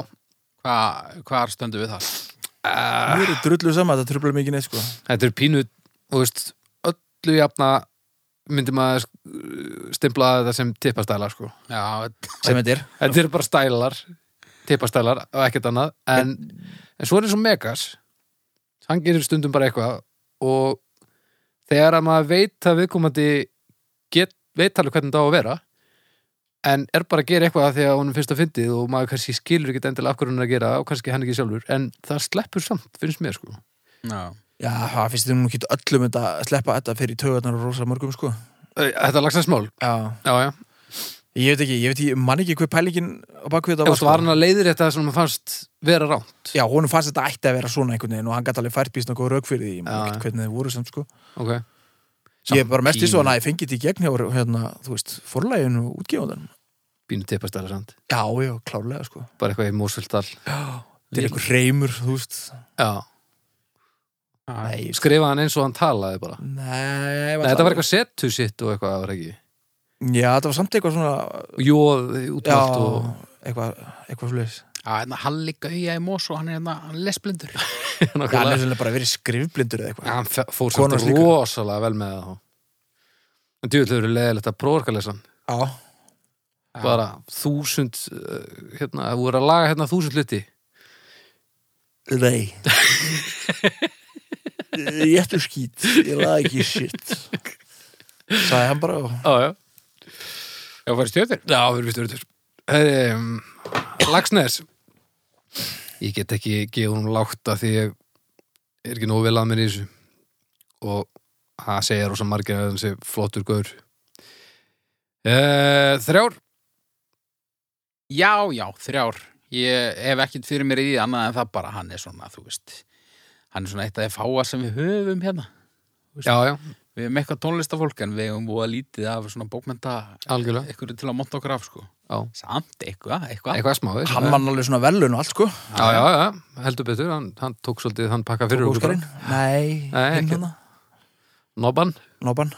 Speaker 3: Hva, hvað stöndum við það?
Speaker 1: Mér eru drullu saman, þetta trublar mikið neitt sko
Speaker 2: þetta er pínu þú veist, öllu jafna myndir maður sk- stimpla þetta sem tippastælar sko.
Speaker 3: Já,
Speaker 1: Sem þetta er
Speaker 2: þetta eru bara stælar tippastælar og ekkert annað en, en svo er eins og Megas hann gerir stundum bara eitthvað og þegar að maður veit að viðkomandi get, veit alveg hvernig það á að vera en er bara að gera eitthvað þegar honum finnst að fyndið og maður kannski skilur ekki endilega af hverju hann er að gera og kannski hann ekki sjálfur en það sleppur samt, finnst mér sko
Speaker 3: já.
Speaker 1: Já, það finnst þið nú ekki öllum þetta að sleppa þetta fyrir taugarnar og rosa mörgum sko
Speaker 2: Æ, Þetta er lagsansmál,
Speaker 1: Já
Speaker 2: já já
Speaker 1: Ég veit ekki, ég veit ekki, ég man ekki hver pælingin á baku þetta
Speaker 2: Ef
Speaker 1: var sko.
Speaker 2: þú var hann að leiðir þetta sem hann fannst vera ránt
Speaker 1: Já, honum fannst þetta ætti að vera svona einhvern veginn og hann gæti alveg fært býst nokkuð rauk fyrir því Ég man ekki
Speaker 2: Já, já.
Speaker 1: hvernig þið voru samt sko
Speaker 2: Ok,
Speaker 1: Ég er bara mest í
Speaker 3: pínu-
Speaker 1: svo að ég fengið þetta í gegn hjá hérna, þú veist, forlæginu og útgefundanum
Speaker 2: Bínu tippastæla samt
Speaker 1: Já, já, klárlega sko
Speaker 2: Bara eitthvað í Mósvöldal
Speaker 1: Þetta er einhver reymur, þú veist
Speaker 2: Já,
Speaker 3: Já.
Speaker 1: Nei, sko
Speaker 2: skrifa hann eins og hann talaði bara
Speaker 1: Nei,
Speaker 2: Nei, þetta var eitthvað setu sitt og eitthvað, það var ekki
Speaker 1: Já, þetta var samt eitthvað svona
Speaker 2: Og Jóð út um
Speaker 1: Já,
Speaker 2: allt og
Speaker 1: eitthvað, eitthvað fleis
Speaker 3: Já, hérna Halli Gauja í Mós og hann er hérna hann er lesblindur.
Speaker 1: Já, hann er
Speaker 2: Nákvæmlega.
Speaker 1: svolítið bara verið skrifblindur eða
Speaker 2: Já,
Speaker 1: eitthvað.
Speaker 2: Hann fe- fór
Speaker 1: Konan
Speaker 2: samt
Speaker 1: slíkur.
Speaker 2: rosalega vel með það þá. En djúvill hefur leðilegt að prófarkalesan
Speaker 1: Já.
Speaker 3: Já.
Speaker 2: Bara þúsund uh, Hérna, þú voru að laga hérna þúsund hluti
Speaker 1: Nei. ég ættu skýt, ég laði ekki shit. Sæði hann bara og...
Speaker 2: Já, já
Speaker 3: Já, fyrir stjörnur.
Speaker 2: Já, við erum stjórnur Herri, um, Lagsnes Ég get ekki gefið hún lágt að því ég er ekki nógu vel að mér í þessu og það segja rosa margir að hann sé flottur gaur uh, Þrjár
Speaker 3: Já, já, þrjár. Ég hef ekkert fyrir mér í því annað en það bara hann er svona, þú veist, hann er svona eitt af þeir fáa sem við höfum hérna.
Speaker 2: Já, já,
Speaker 3: Við hefum eitthvað tónlistafólk en við hefum búið lítið af svona bókmynda
Speaker 2: algjörlega
Speaker 3: eitthvað til að monta okkur af, sko.
Speaker 2: Já.
Speaker 3: Samt eitthvað, eitthvað.
Speaker 2: Eitthvað smá, veist
Speaker 1: Hann mann alveg svona velun og allt, sko.
Speaker 2: Já, já, já, heldur betur, hann, hann tók svolítið hann pakka fyrir okkur
Speaker 1: Óskarinn. Nei,
Speaker 2: Nei,
Speaker 1: hinn
Speaker 2: ekki.
Speaker 1: hana.
Speaker 2: Nobban,
Speaker 1: Nóban.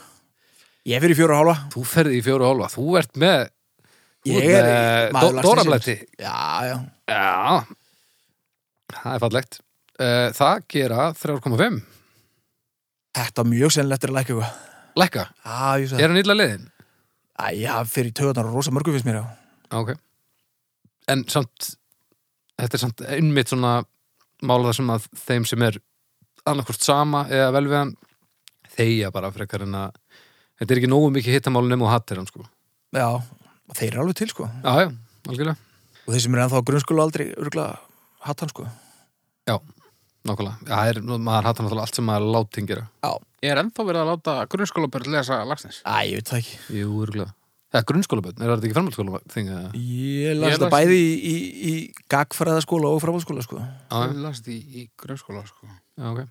Speaker 1: Ég fyrir fjóra og hálfa.
Speaker 2: þú ferði í fjóru og hálfa, þú ert með þú
Speaker 1: Ég
Speaker 2: ert
Speaker 1: er í- maður
Speaker 2: með
Speaker 1: lagsins.
Speaker 2: Dórabletti
Speaker 1: Já, já.
Speaker 2: Já, það er fallegt. Eh, Það gera 3,5.
Speaker 1: Þetta var mjög sennilegt er að lækka eitthvað.
Speaker 2: Lækka,
Speaker 1: Já, ég
Speaker 2: er
Speaker 1: sagði.
Speaker 2: hann illa leiðin?
Speaker 1: Æ, já, fyrir töðunar og rosa mörgu fyrst mér, já.
Speaker 2: Ok. En samt, þetta er samt einmitt svona mála það sem að þeim sem er annarkvort sama eða vel við hann þeia bara frekar en að þetta er ekki nógu mikið hittamálun um og hattir hann sko.
Speaker 1: Já, og þeir eru alveg til, sko.
Speaker 2: Já, já, algjörlega.
Speaker 1: Og þeir sem eru ennþá grunnskóla aldrei, örgulega, hatt hann, sko.
Speaker 2: Nákvæmlega. Já, það er, maður hattar náttúrulega allt sem maður látingir.
Speaker 3: Ég er ennþá verið að láta grunnskólabörn lesa lagsnes.
Speaker 1: Æ, ég veit það ekki.
Speaker 2: Jú, örgulega. Það er grunnskóla bönn, er þetta ekki framhaldsskóla þing? eða?
Speaker 1: Ég
Speaker 3: Ég
Speaker 1: las þetta
Speaker 3: las-
Speaker 1: bæði í, í, í gagfræðaskóla og framhaldsskóla sko.
Speaker 2: Já,
Speaker 3: Ég
Speaker 2: já,
Speaker 3: las því í grunnskóla, sko.
Speaker 2: já, ok.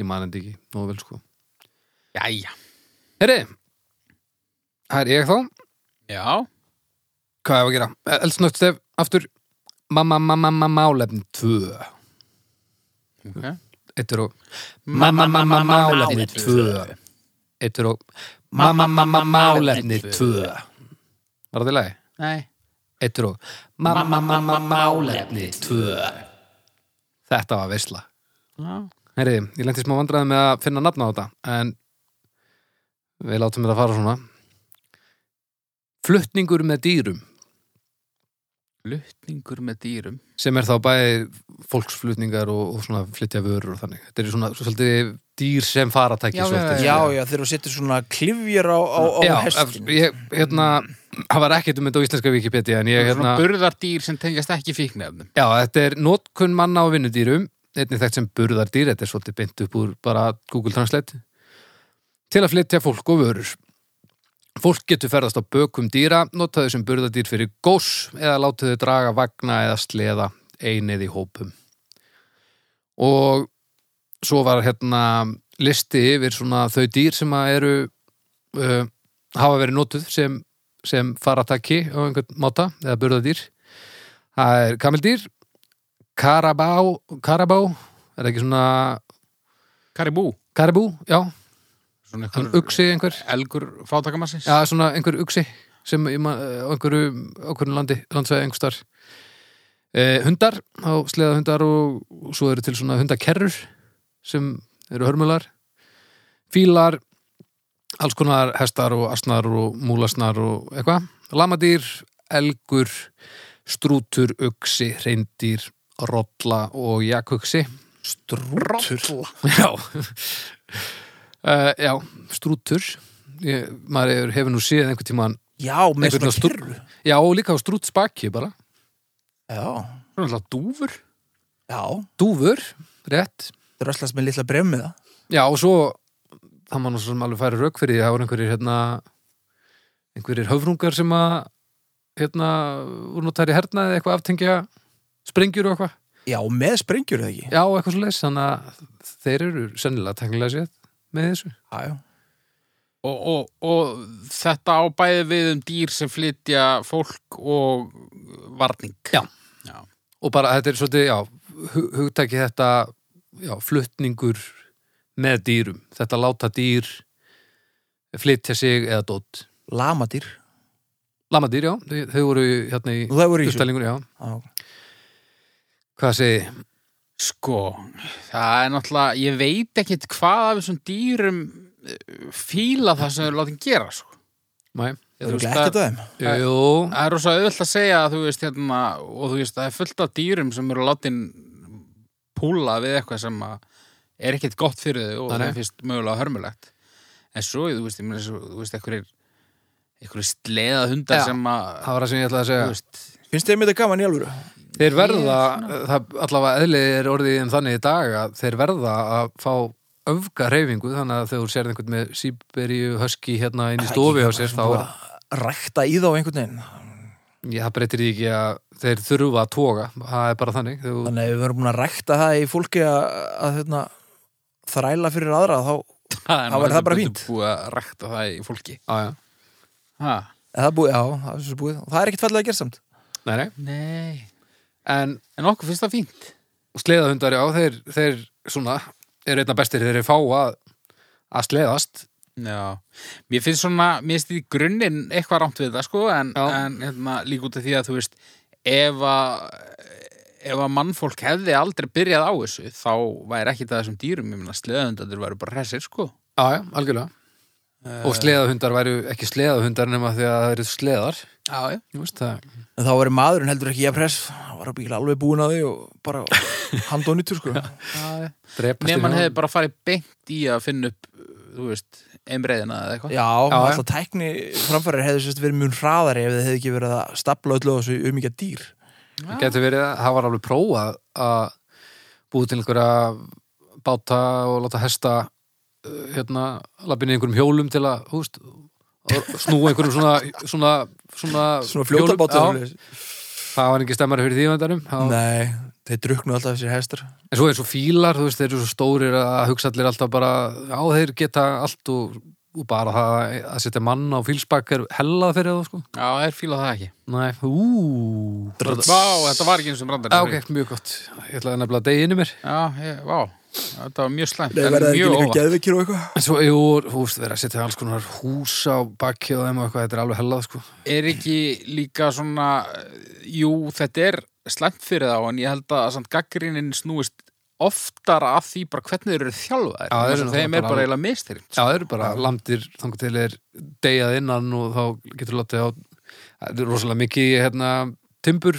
Speaker 2: Ég man þetta ekki, nógu vel sko.
Speaker 3: Jæja.
Speaker 2: Herri, það er ég þá.
Speaker 3: Já.
Speaker 2: Hvað er að gera? Eldsnögt stef, E, aftur. Mamma, mamma, mamma, málefni 2
Speaker 3: Ok.
Speaker 2: Eittur og Mamma, mamma, málefni 2 Eittur og Mamma, mamma, málefni 2 Var það í lagi?
Speaker 3: Nei,
Speaker 2: Eittur og Mamma, mamma, málefni 2 Þetta var veisla
Speaker 3: já,
Speaker 2: Heyri, ég lenti í smá vandræði með að finna nafna á þetta en við látum þetta fara svona Flutningur með dýrum
Speaker 3: lutningur með dýrum
Speaker 2: sem er þá bæði fólksflutningar og, og svona flytja vörur og þannig þetta er svona svolítið dýr sem faratæki
Speaker 3: Já, já,
Speaker 2: svolítið,
Speaker 1: Já,
Speaker 2: sko.
Speaker 1: já, þegar þú setur svona klifjur á, á, á
Speaker 2: já,
Speaker 1: hestin.
Speaker 2: ég, hérna það var ekkert um þetta á íslenska Wikipedia en ég,
Speaker 3: Svona
Speaker 2: hérna,
Speaker 3: burðardýr sem tengjast ekki fíknefnum
Speaker 2: já, þetta er notkun manna á vinnudýrum einnig þekkt sem burðardýr, þetta er svolítið beint upp úr bara Google Translate til að flytja fólk og vörur Fólk getur ferðast á bökum dýra, notaðu sem burðardýr fyrir gós eða látaðu draga vagna eða sleða einið í hópum. Og svo var hérna listi yfir svona þau dýr sem að eru uh, hafa verið notuð sem, sem farataki á einhvern máta eða burðardýr. Það er kamildýr, karabá, karabá, er það ekki svona
Speaker 3: Karibú,
Speaker 2: karabú, já,
Speaker 3: svona
Speaker 2: hann
Speaker 3: einhver
Speaker 2: uksi einhver.
Speaker 3: elgur fátakamassis
Speaker 2: Já, svona einhver uksi sem ég man- á einhverju, á einhverju landi, landsvæði einhverstar eh, hundar, á sleða hundar og, og svo eru til svona hundakerrur sem eru hörmular fílar alls konar hestar og asnar og múlasnar og eitthvað lamadýr, elgur strútur, uksi, reyndýr rolla og jakuksi
Speaker 1: Strútur.
Speaker 2: Já uh, Já, strútur ég, maður hefur- hefur nú séð einhvern tímann
Speaker 1: Já, með
Speaker 2: Einhvern
Speaker 1: svona
Speaker 2: strú-
Speaker 1: kyrru.
Speaker 2: Já, og líka á strútsbaki bara
Speaker 1: Já,
Speaker 3: Svona alltaf dúfur
Speaker 1: já.
Speaker 2: Dúfur, rétt
Speaker 1: Dröslast með litla bremmiða.
Speaker 2: Já, og svo það maður nú svo sem alveg færi rauk fyrir því það voru einhverjir hérna einhverjir höfrungar sem að hérna, voru nú tæri herna eða eitthvað aftengja sprengjur og eitthvað
Speaker 1: Já, með sprengjur eða ekki.
Speaker 2: Já, og eitthvað svo leys, þannig að þeir eru sennilega tengilega sér með þessu
Speaker 1: Já, já.
Speaker 3: og, og, og þetta á bæði við um dýr sem flytja fólk og varning
Speaker 2: Já.
Speaker 3: Já.
Speaker 2: og bara þetta er svolítið, já, hu- hugtæki þetta já, flutningur með dýrum, þetta láta dýr flytja sig eða dótt
Speaker 1: Lamadýr.
Speaker 2: Lamadýr, já, þau, þau voru í- hérna í
Speaker 1: Nú, Það voru í þessu.
Speaker 2: uppstælingunni, já
Speaker 1: Já.
Speaker 2: Hvað segi,
Speaker 3: Sko, það er náttúrulega ég veit ekkit hvað af þessum dýrum eh, fíla það sem þau eru látið gera sko.
Speaker 2: mæ?
Speaker 1: Það
Speaker 3: Þú
Speaker 1: eru
Speaker 3: veist,
Speaker 1: ekki
Speaker 3: það-
Speaker 1: þetta þeim.
Speaker 3: Nei.
Speaker 2: Jú,
Speaker 3: það er rosa auðvöld að segja að þú veist hérna, og þú veist, það er fullt af dýrum sem eru látið púla við eitthvað sem að er ekkit gott fyrir þau og
Speaker 2: Nei, nei.
Speaker 3: það finnst mögulega hörmulegt en svo, þú veist, ég meina, svo- þú veist, einhverjir einhverjir sleða hundar
Speaker 2: Já.
Speaker 3: sem að
Speaker 2: það var það sem ég ætlaði að
Speaker 3: þú
Speaker 2: segja
Speaker 3: veist,
Speaker 1: Finnst þeim þetta gaman í alvöru?
Speaker 2: Þeir verða, það, allavega eðlið er orðið um þannig í dag að þeir verða að fá öfga reyfingu þannig að þegar þú sérð einhvern með síberíu höski hérna inn í stofi á sér þá
Speaker 1: Bara Rækta í þá einhvern veginn.
Speaker 2: Já, það breytir því ekki að þeir þurfa að toga, það er bara þannig þú,
Speaker 1: Þannig að ef við verðum búin að rækta það í fólki að, að hérna, þræla fyrir aðra þá
Speaker 3: það er
Speaker 1: Þá
Speaker 3: nú
Speaker 1: væri það bara
Speaker 3: heldur
Speaker 1: fínt.
Speaker 3: betur búið að rækta það í fólki
Speaker 2: á, já.
Speaker 3: ha.
Speaker 1: er það búið, já, það er svo búið. Og það er ekkert fallega að gera samt.
Speaker 2: Nei, nei.
Speaker 3: Nei
Speaker 2: En
Speaker 3: En okkur finnst það fínt
Speaker 2: sleðahundar, já, þeir, þeir svona, eru einna bestir þeir eru fá að, að sleðast
Speaker 3: Já Mér finnst svona, mér finnst í grunninn eitthvað rámt við það sko En,
Speaker 2: Já.
Speaker 3: en hérna, líka út af því að þú veist Ef að Ef að mannfólk hefði aldrei byrjað á þessu Þá væri ekki það þessum dýrum Ég meina sleðundandur væru bara hressir sko
Speaker 2: Já, já, algjörlega. Og sleðahundar væru ekki sleðahundar nema því að það eru sleðar.
Speaker 3: Já, já
Speaker 2: Þú veist það.
Speaker 1: En þá verður maðurinn heldur ekki að press. Það var að byggja alveg búin að því og bara hand og nýttur sko.
Speaker 2: Drepast
Speaker 3: Nefn
Speaker 2: í
Speaker 3: hann
Speaker 2: náð.
Speaker 3: hefði bara farið beint í að finna upp Þú veist, einbreiðina eða eitthvað
Speaker 1: Já,
Speaker 2: Já,
Speaker 1: alltaf tækni framfærir hefði sérst verið mjög hraðari ef þið hefði ekki verið að stapla öllu á þessu umíkja dýr.
Speaker 2: Það Gæti verið að það var alveg prófað að búið til einhverja báta og láta hesta uh, hérna, lappinni einhverjum hjólum til að, þú veist, að snúa einhverjum svona svona, svona,
Speaker 1: Svona fljóta
Speaker 2: hjólum.
Speaker 1: báta.
Speaker 2: Já, Það var ekki stemmari fyrir því á endanum. Það var-
Speaker 1: Nei, þeir druknu alltaf þessir hestar.
Speaker 2: En svo eins og fílar, þú veist, þeir eru svo stórir að hugsa allir alltaf bara, já, þeir geta allt og og bara það að setja mann á fílsbakk er hellað fyrir það sko
Speaker 3: Já, það er fílað það ekki.
Speaker 2: Nei, úúú
Speaker 3: Vá, þetta var ekki eins og brandar.
Speaker 2: Já, ok, mjög gott Ég ætlaði nefnilega að deyja inni mér
Speaker 3: Já, ég, vá. Þetta var mjög slæmt.
Speaker 1: Nei,
Speaker 3: en
Speaker 1: verða ekki
Speaker 3: mjög
Speaker 1: líka
Speaker 3: óvart.
Speaker 1: geðvikir og eitthvað?
Speaker 2: En svo, jú, þú veist, verið að setja alls konar hús á bakki og þeim og eitthvað, þetta er alveg hellað sko
Speaker 3: Er ekki líka svona, eh, jú, þetta er slæmt fyrir þá, en ég held að samt gaggrinin snúist oftar af því bara hvernig þeir eru þjálfaðir.
Speaker 2: Já, þeir eru
Speaker 3: Þannig að þeim er
Speaker 2: náttúrulega
Speaker 3: bara
Speaker 2: bara-
Speaker 3: eiginlega mistyrnt.
Speaker 2: Já, það eru bara lamdir þangar til er deyjað innan og þá getur látið á það er rosalega mikið í, hérna, timbur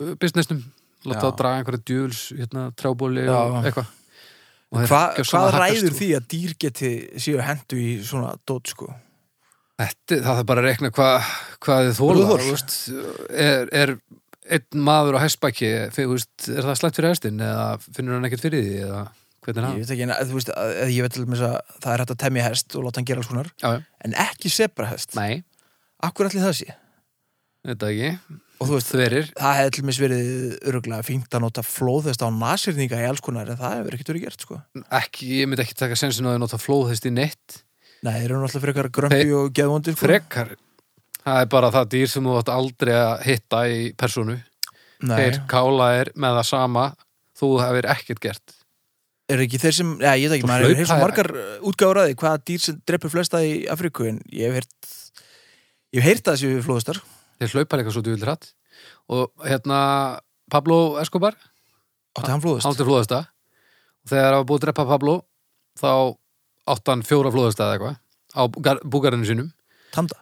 Speaker 2: uh, businessnum látið
Speaker 3: Já.
Speaker 2: á að draga einhverja djúls hérna, trjábóli
Speaker 1: Já.
Speaker 2: og eitthvað Og þeir
Speaker 1: Hva,
Speaker 2: gjörsamlega
Speaker 1: hvað
Speaker 2: haggast sko.
Speaker 1: ræður
Speaker 2: og-
Speaker 1: því að dýr geti síðu hendu í svona dót sko?
Speaker 2: Þetta, það er bara að rekna hva, hvað þið þóla
Speaker 1: Hvað þola.
Speaker 2: þú veist, er, er einn maður á hæstbæki veist, er það slæmt fyrir hæstin eða finnur hann ekkert fyrir því eða hvernig er
Speaker 1: Ég
Speaker 2: hann?
Speaker 1: veit ekki, en að, þú veist, að, að ég veit til þess að það er hægt að temja hest og láta hann gera alls konar,
Speaker 2: Já, já.
Speaker 1: en ekki sebrahest.
Speaker 2: Nei,
Speaker 1: Akkur allir það sé.
Speaker 2: þetta ekki
Speaker 1: Og þú veist,
Speaker 2: þverir,
Speaker 1: það hefði til þess verið öruglega fínt að nota flóðhest á nasirninga í alls konar, en það hefur ekkert verið gert sko.
Speaker 2: ekki, ég myndi ekki taka sensin á því að nota flóðhest í neitt
Speaker 1: Nei, þeir eru náttúrulega frekar grömpi og geðvondir sko.
Speaker 2: frekar, það er bara það dýr sem þú átt aldrei að hitta í personu
Speaker 1: Nei,
Speaker 2: þeir kála er með það sama þú hefur ekkert gert
Speaker 1: eru ekki þeir sem, já, ég veit ekki,
Speaker 2: Svo
Speaker 1: maður
Speaker 2: hlaupa
Speaker 1: hefur svo
Speaker 2: þeir-
Speaker 1: margar útgáður að því hvaða dýr sem dreppur flesta í Afríku, en ég hef heyrt, ég hef heyrt að þessi flóðhestar.
Speaker 2: þeir hlaupa líka svo djúlir hratt og hérna Pablo Escobar
Speaker 1: Átti hann flóðhest?
Speaker 2: Hann til flóðasta og þegar það var búið að drepa Pablo þá átti hann fjóra flóðasta eða eitthvað á búgar- búgarinu sínum
Speaker 1: Tanda?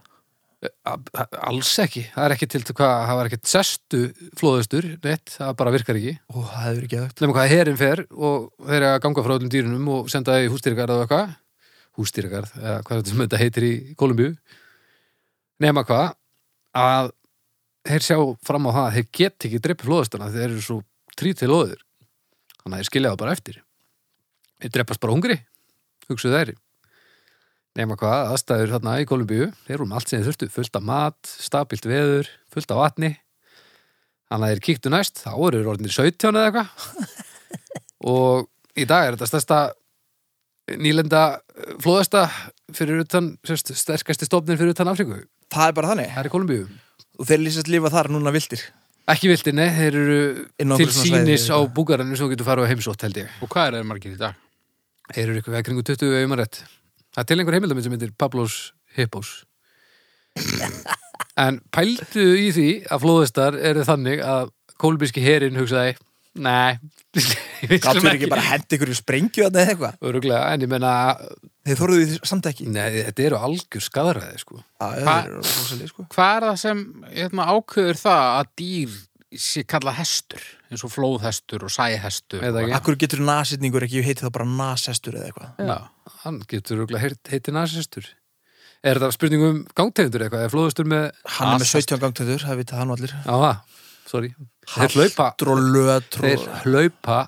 Speaker 2: A- a- alls ekki, það er ekki til hvað það var ekkert sestu flóðastur neitt, það bara virkar ekki
Speaker 1: Ó, það hefur verið geðvögt.
Speaker 2: nefnum hvað herin fer og þeir eru að ganga frá öllum dýrunum og senda það í hústýrgarð og eitthvað hústýrgarð, eða hvað þetta sem þetta heitir í Kolumbíu nema hvað að þeir sjá fram á það að þeir get ekki drepa flóðastana þeir eru svo trítið loður þannig að þeir skilja það bara eftir þeir drepast bara hungri hugsuðu þeir nema hvað aðstæður þarna í Kolumbíu þeir eru með allt sem þeir þurftu, fullt af mat stabilt veður, fullt af vatni þannig að þeir kíktu næst þá eru þeir orðinir 17 eða eitthvað og í dag er þetta stærsta nýlenda eh, flóðasta fyrir utan, sérst, sterkasti stofnin fyrir utan Afríku,
Speaker 1: Það er bara þannig.
Speaker 2: það er í Kolumbíu
Speaker 1: Og þeir lýsast lifa þar núna vildir.
Speaker 2: ekki vildi, nei, þeir eru
Speaker 1: Inn á
Speaker 2: til
Speaker 1: einhverju svona svæði
Speaker 2: sínis á
Speaker 1: eða eitthvað.
Speaker 2: búgarannu sem þú getur farið á heimsótt held ég
Speaker 3: sko. Og hvað er þeir margir í dag?
Speaker 2: þeir eru eitthvað kringu 20 ef ég maður rétt það er til einhver heimildamind sem heitir Pablos Hippos en pældu í því að flóðastar eru þannig að kolumbíski herin hugsaði nei, við
Speaker 1: Gátt þeir
Speaker 2: skulum
Speaker 1: ekki bara hendi ykkur í sprengju þarna eða eitthvað?
Speaker 2: Öruglega, en ég menna
Speaker 1: Þeir þorðu því samt ekki.
Speaker 2: Nei, þetta eru algjör skadaræði, sko.
Speaker 1: Já, þeir
Speaker 3: Hva-
Speaker 1: eru rosalegir, sko.
Speaker 3: Hvað er það sem hérna, ákveður það að dýr sé kallað hestur? Eins og flóðhestur og sæhestur.
Speaker 2: Eða ekki.
Speaker 1: Akkur getur nasitningur ekki, ég heiti það bara nasestur eða eitthvað.
Speaker 3: Já.
Speaker 2: Hann getur öruglega heiti nasistur. Er þetta spurning um gangtegundur eitthvað? Er flóðustur með...
Speaker 1: Hann er með
Speaker 3: Nasist.
Speaker 1: 17 gangtöndur, það vita hann og allir.
Speaker 2: Já, það, sorry. Þeir hlaupa,
Speaker 1: Haltur og lötur
Speaker 2: þeir
Speaker 1: og...
Speaker 2: hlaupa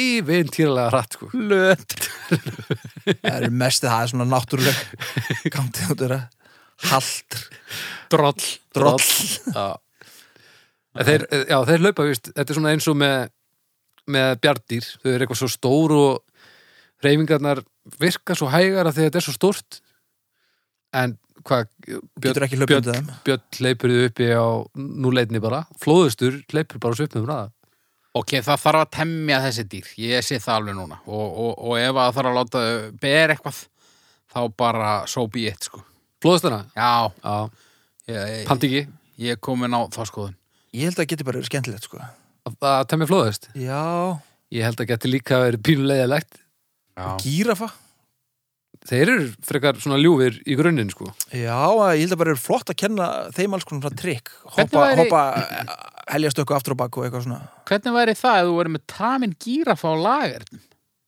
Speaker 2: ævintýralega hratt, sko.
Speaker 1: Lötur. það er mest það er svona náttúruleg gangtöndur. Haltur.
Speaker 3: Droll.
Speaker 1: Droll.
Speaker 2: Já. En Þeir, já, þeir hlaupa, víst, þetta er svona eins og með, með bjardýr. Þau eru eitthvað svo stór og reyfingarnar virka svo hægar að því að þetta er svo stórt. En hvað... Björn-
Speaker 1: Getur ekki hlaupið undir þeim.
Speaker 2: Björn hleypur þið uppi á núleitni bara flóðustur hleypur bara svo upp með hraða
Speaker 3: Ok, það þarf að temja þessi dýr. Ég sé það alveg núna. Og, og, og ef að það þarf að láta þau ber eitthvað, þá bara so be it, sko.
Speaker 2: flóðustana,
Speaker 3: Já,
Speaker 2: já,
Speaker 3: ég,
Speaker 2: pandi ekki
Speaker 3: ég er komin á þá skoðun.
Speaker 1: Ég held að það geti bara verið skemmtilegt, sko.
Speaker 2: að- að temja flóðust
Speaker 1: Já.
Speaker 2: ég held að geti líka verið pínulegilegt
Speaker 3: Já.
Speaker 1: Gírafa.
Speaker 2: þeir eru frekar svona ljúfir í grunninn sko
Speaker 1: Já, ég held að bara er flott að kenna þeim alls konar svona trikk
Speaker 3: Hvernig
Speaker 1: hoppa,
Speaker 3: væri-
Speaker 1: hoppa heljastökku aftur og bakku og eitthvað svona
Speaker 3: Hvernig væri það ef þú verið með tamin gírafa á lager?